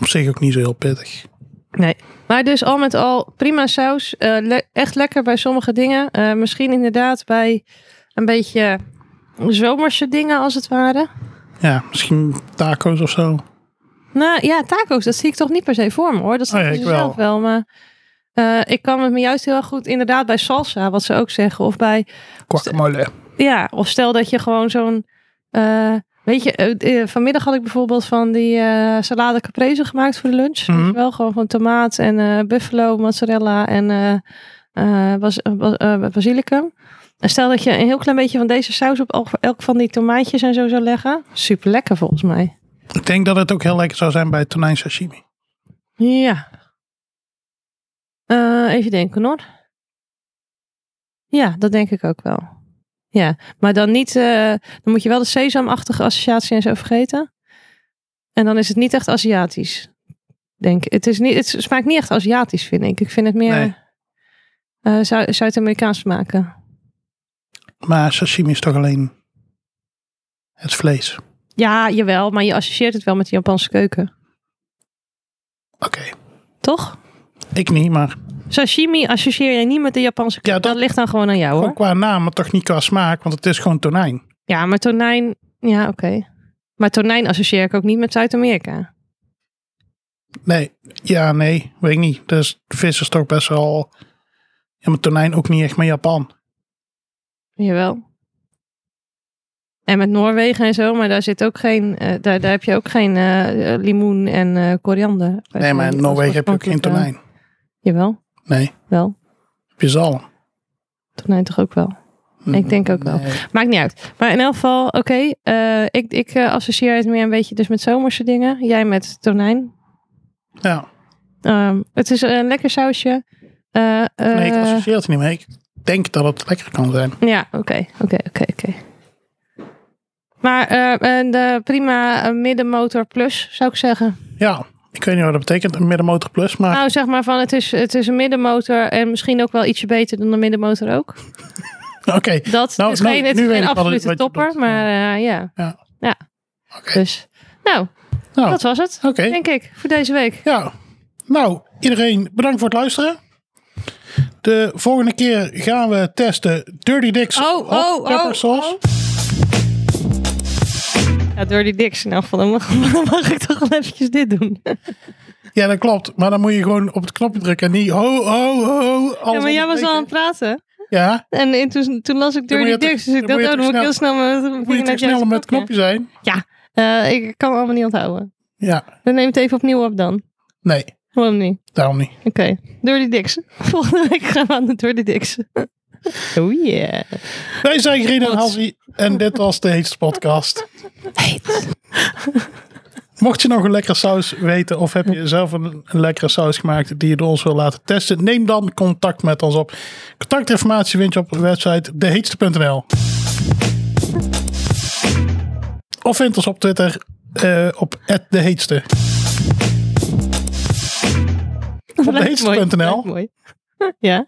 [SPEAKER 2] op zich ook niet zo heel pittig.
[SPEAKER 1] Nee. Maar dus al met al prima saus. Eh, le- echt lekker bij sommige dingen. Eh, misschien inderdaad bij een beetje zomerse dingen als het ware.
[SPEAKER 2] Ja, misschien tacos of zo.
[SPEAKER 1] Nou ja, taco's, dat zie ik toch niet per se voor me hoor. Dat
[SPEAKER 2] Oh ja,
[SPEAKER 1] zie ik
[SPEAKER 2] ik
[SPEAKER 1] zelf wel. Maar eh, ik kan het me juist heel erg goed inderdaad bij salsa, wat ze ook zeggen. Of bij,
[SPEAKER 2] Guacamole.
[SPEAKER 1] ja, of stel dat je gewoon zo'n, eh, weet je, eh, eh, vanmiddag had ik bijvoorbeeld van die eh, salade caprese gemaakt voor de lunch.
[SPEAKER 2] Mhm.
[SPEAKER 1] Weet je wel gewoon van tomaat en eh, buffalo, mozzarella en eh eh, bas- eh, bas- eh, basilicum. En stel dat je een heel klein beetje van deze saus op elk- elk van die tomaatjes en zo zou leggen. Super lekker volgens mij.
[SPEAKER 2] Ik denk dat het ook heel lekker zou zijn bij tonijn sashimi.
[SPEAKER 1] Ja. Eh, even denken hoor. Ja, dat denk ik ook wel. Ja, maar dan niet. eh, dan moet je wel de sesamachtige associatie en zo vergeten. En dan is het niet echt Aziatisch. Denk. Het, is niet, het smaakt niet echt Aziatisch, vind ik. Ik vind het meer
[SPEAKER 2] Nee.
[SPEAKER 1] eh, Zu- Zuid-Amerikaans smaken.
[SPEAKER 2] Maar sashimi is toch alleen het vlees.
[SPEAKER 1] Ja, jawel, maar je associeert het wel met de Japanse keuken.
[SPEAKER 2] Oké,
[SPEAKER 1] Toch?
[SPEAKER 2] ik niet, maar
[SPEAKER 1] Sashimi associeer je niet met de Japanse keuken.
[SPEAKER 2] dat-
[SPEAKER 1] dat... ligt dan gewoon aan jou hoor.
[SPEAKER 2] gewoon qua naam, maar toch niet qua smaak, want het is gewoon tonijn.
[SPEAKER 1] Ja, maar tonijn. Ja, oké. Maar tonijn associeer ik ook niet met Zuid-Amerika.
[SPEAKER 2] Nee, ja, nee, weet ik niet. Dus vis is toch best wel... Ja, maar tonijn ook niet echt met Japan.
[SPEAKER 1] Jawel. En met Noorwegen en zo, maar daar zit ook geen. eh, daar, daar heb je ook geen eh, eh, limoen en eh, koriander.
[SPEAKER 2] Nee, maar in
[SPEAKER 1] Als
[SPEAKER 2] Noorwegen heb je ook geen
[SPEAKER 1] oorspronkelijke-
[SPEAKER 2] tonijn.
[SPEAKER 1] eh, Jawel,
[SPEAKER 2] Nee,
[SPEAKER 1] wel.
[SPEAKER 2] heb je zalm.
[SPEAKER 1] Tonijn toch ook wel. Ik denk ook wel.
[SPEAKER 2] Nee.
[SPEAKER 1] Maakt niet uit. Maar in elk geval, oké. eh, ik ik eh, associeer het meer een beetje dus met zomerse dingen. Jij met tonijn.
[SPEAKER 2] Ja,
[SPEAKER 1] Ehm, het is een lekker sausje. Eh,
[SPEAKER 2] nee, ik
[SPEAKER 1] eh,
[SPEAKER 2] associeer het niet mee. Ik denk dat het lekker kan zijn.
[SPEAKER 1] Ja, oké, oké, oké, oké. Maar eh, een eh, prima eh, middenmotor plus, zou ik zeggen.
[SPEAKER 2] Ja, ik weet niet wat dat betekent, een middenmotor plus. Maar
[SPEAKER 1] Nou, zeg maar van het is, het is een middenmotor en misschien ook wel ietsje beter dan een middenmotor ook. Ah.
[SPEAKER 2] oké,
[SPEAKER 1] Dat
[SPEAKER 2] Nou,
[SPEAKER 1] het is
[SPEAKER 2] nou,
[SPEAKER 1] geen, het
[SPEAKER 2] nu
[SPEAKER 1] is
[SPEAKER 2] weet
[SPEAKER 1] geen
[SPEAKER 2] ik wel
[SPEAKER 1] absolute
[SPEAKER 2] wat je
[SPEAKER 1] topper,
[SPEAKER 2] bedoelt.
[SPEAKER 1] maar eh, ja.
[SPEAKER 2] Ja. Oké.
[SPEAKER 1] Dus, nou,
[SPEAKER 2] nou,
[SPEAKER 1] dat was het,
[SPEAKER 2] oké.
[SPEAKER 1] denk ik, voor deze week.
[SPEAKER 2] Ja, nou, iedereen bedankt voor het luisteren. De volgende keer gaan we testen Dirty Dicks
[SPEAKER 1] Oh,
[SPEAKER 2] hot
[SPEAKER 1] oh, oh,
[SPEAKER 2] pepper sauce.
[SPEAKER 1] oh. Ja, door die diks in elk geval, dan mag, dan mag ik toch wel eventjes dit doen.
[SPEAKER 2] Ja, dat klopt. Maar dan moet je gewoon op het knopje drukken en niet ho, ho, ho. alles
[SPEAKER 1] Ja, maar jij was al aan
[SPEAKER 2] onderbreken.
[SPEAKER 1] het praten.
[SPEAKER 2] Ja,
[SPEAKER 1] En, in- toen, toen las ik
[SPEAKER 2] Dan moet
[SPEAKER 1] Dirty
[SPEAKER 2] je toch-
[SPEAKER 1] Dicks, dus ik
[SPEAKER 2] dan
[SPEAKER 1] dacht,
[SPEAKER 2] moet je
[SPEAKER 1] oh, dan
[SPEAKER 2] toch
[SPEAKER 1] moet ik heel snel mijn vinger
[SPEAKER 2] moet je
[SPEAKER 1] naar
[SPEAKER 2] toch
[SPEAKER 1] het
[SPEAKER 2] sneller
[SPEAKER 1] juiste
[SPEAKER 2] met het knopje zijn?
[SPEAKER 1] Eh, ik kan het allemaal niet onthouden.
[SPEAKER 2] Ja,
[SPEAKER 1] Dan neem het even opnieuw op dan.
[SPEAKER 2] nee,
[SPEAKER 1] Waarom niet?
[SPEAKER 2] daarom niet.
[SPEAKER 1] Oké, Dirty Dicks. Volgende week gaan we aan de Dirty Dicks. Oh yeah.
[SPEAKER 2] Wij zijn Green en
[SPEAKER 1] Goed.
[SPEAKER 2] Hansie en dit was de Heetste Podcast. Mocht je nog een lekkere saus weten of heb je zelf een, een lekkere saus gemaakt die je door ons wil laten testen, neem dan contact met ons op. Contactinformatie vind je op de website deheetste.nl. Of vind ons op Twitter eh, op @deheetste. Op
[SPEAKER 1] Blijft mooi, blijft
[SPEAKER 2] deheetste.nl
[SPEAKER 1] mooi. Ja.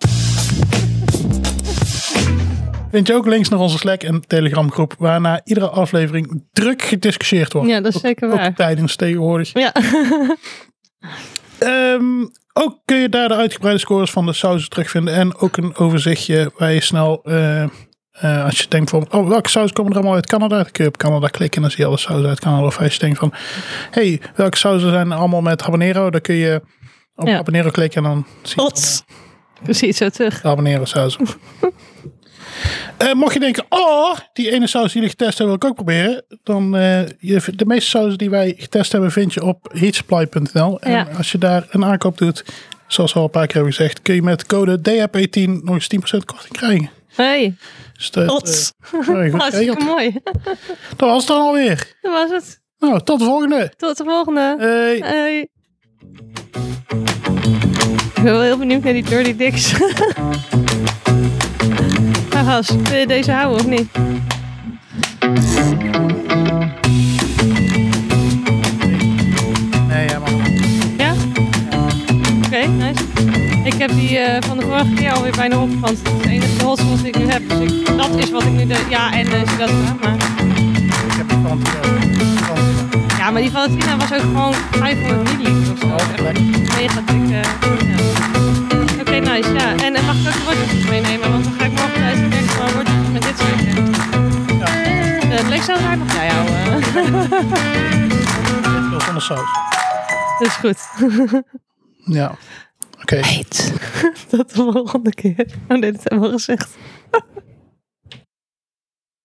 [SPEAKER 2] vind je ook links naar onze Slack en Telegram groep, waarna iedere aflevering druk gediscussieerd wordt.
[SPEAKER 1] ja, dat is zeker
[SPEAKER 2] Ook
[SPEAKER 1] waar.
[SPEAKER 2] tijdens tegenwoordig.
[SPEAKER 1] Ja.
[SPEAKER 2] Ehm, ook kun je daar de uitgebreide scores van de sausen terugvinden. En ook een overzichtje waar je snel, eh, eh, als je denkt van, oh, welke saus komen er allemaal uit Canada? Dan kun je op Canada klikken en dan zie je alle sauzen uit Canada. Of als je denkt van, hey, welke sauzen zijn er allemaal met habanero? Dan kun je op
[SPEAKER 1] Ja.
[SPEAKER 2] habanero klikken en dan zie je allemaal
[SPEAKER 1] Ots. Precies zo terug.
[SPEAKER 2] de habanero sausen. Eh, mocht je denken, oh, die ene saus die jullie getest hebben, wil ik ook proberen. Dan, eh, je vindt- de meeste sauzen die wij getest hebben, vind je op heatsupply.nl. En
[SPEAKER 1] Ja.
[SPEAKER 2] als je daar een aankoop doet, zoals we al een paar keer hebben gezegd, kun je met code DHP10 nog eens 10% korting krijgen.
[SPEAKER 1] Hey,
[SPEAKER 2] Dus dat, eh,
[SPEAKER 1] ots.
[SPEAKER 2] nou ja, goed
[SPEAKER 1] Hartstikke
[SPEAKER 2] geregeld.
[SPEAKER 1] mooi.
[SPEAKER 2] dat was het dan alweer.
[SPEAKER 1] Dat was het.
[SPEAKER 2] Nou, tot de volgende.
[SPEAKER 1] Tot de volgende.
[SPEAKER 2] Hey.
[SPEAKER 1] Hey. Ik ben wel heel benieuwd naar die Dirty Dicks. Nou, Has, wil je deze houden of niet?
[SPEAKER 2] Nee, ja, maar-
[SPEAKER 1] Ja? Oké, nice. Ik heb die eh, van de vorige keer alweer bijna opgepast. Dat is de enige hot sauce die ik nu heb. Dus ik- dat is wat ik nu... De, ja, en eh dat maar...
[SPEAKER 2] ik heb het kant.
[SPEAKER 1] Ja, maar die Valentina was ook gewoon 500 milliliter of zo. Mega dik. eh, ja. Oké, nice. Ja, en eh, mag ik ook de worteltjes meenemen? Want dan ga ik morgen thuis en denk ik van worteltjes met dit soort.
[SPEAKER 2] Ja.
[SPEAKER 1] Eh, Het leek zo raar nog jij houden.
[SPEAKER 2] Zonder saus.
[SPEAKER 1] Dat is goed.
[SPEAKER 2] Ja. Oké.
[SPEAKER 1] Heet. Tot de volgende keer. Oh nee, dat hebben we al gezegd.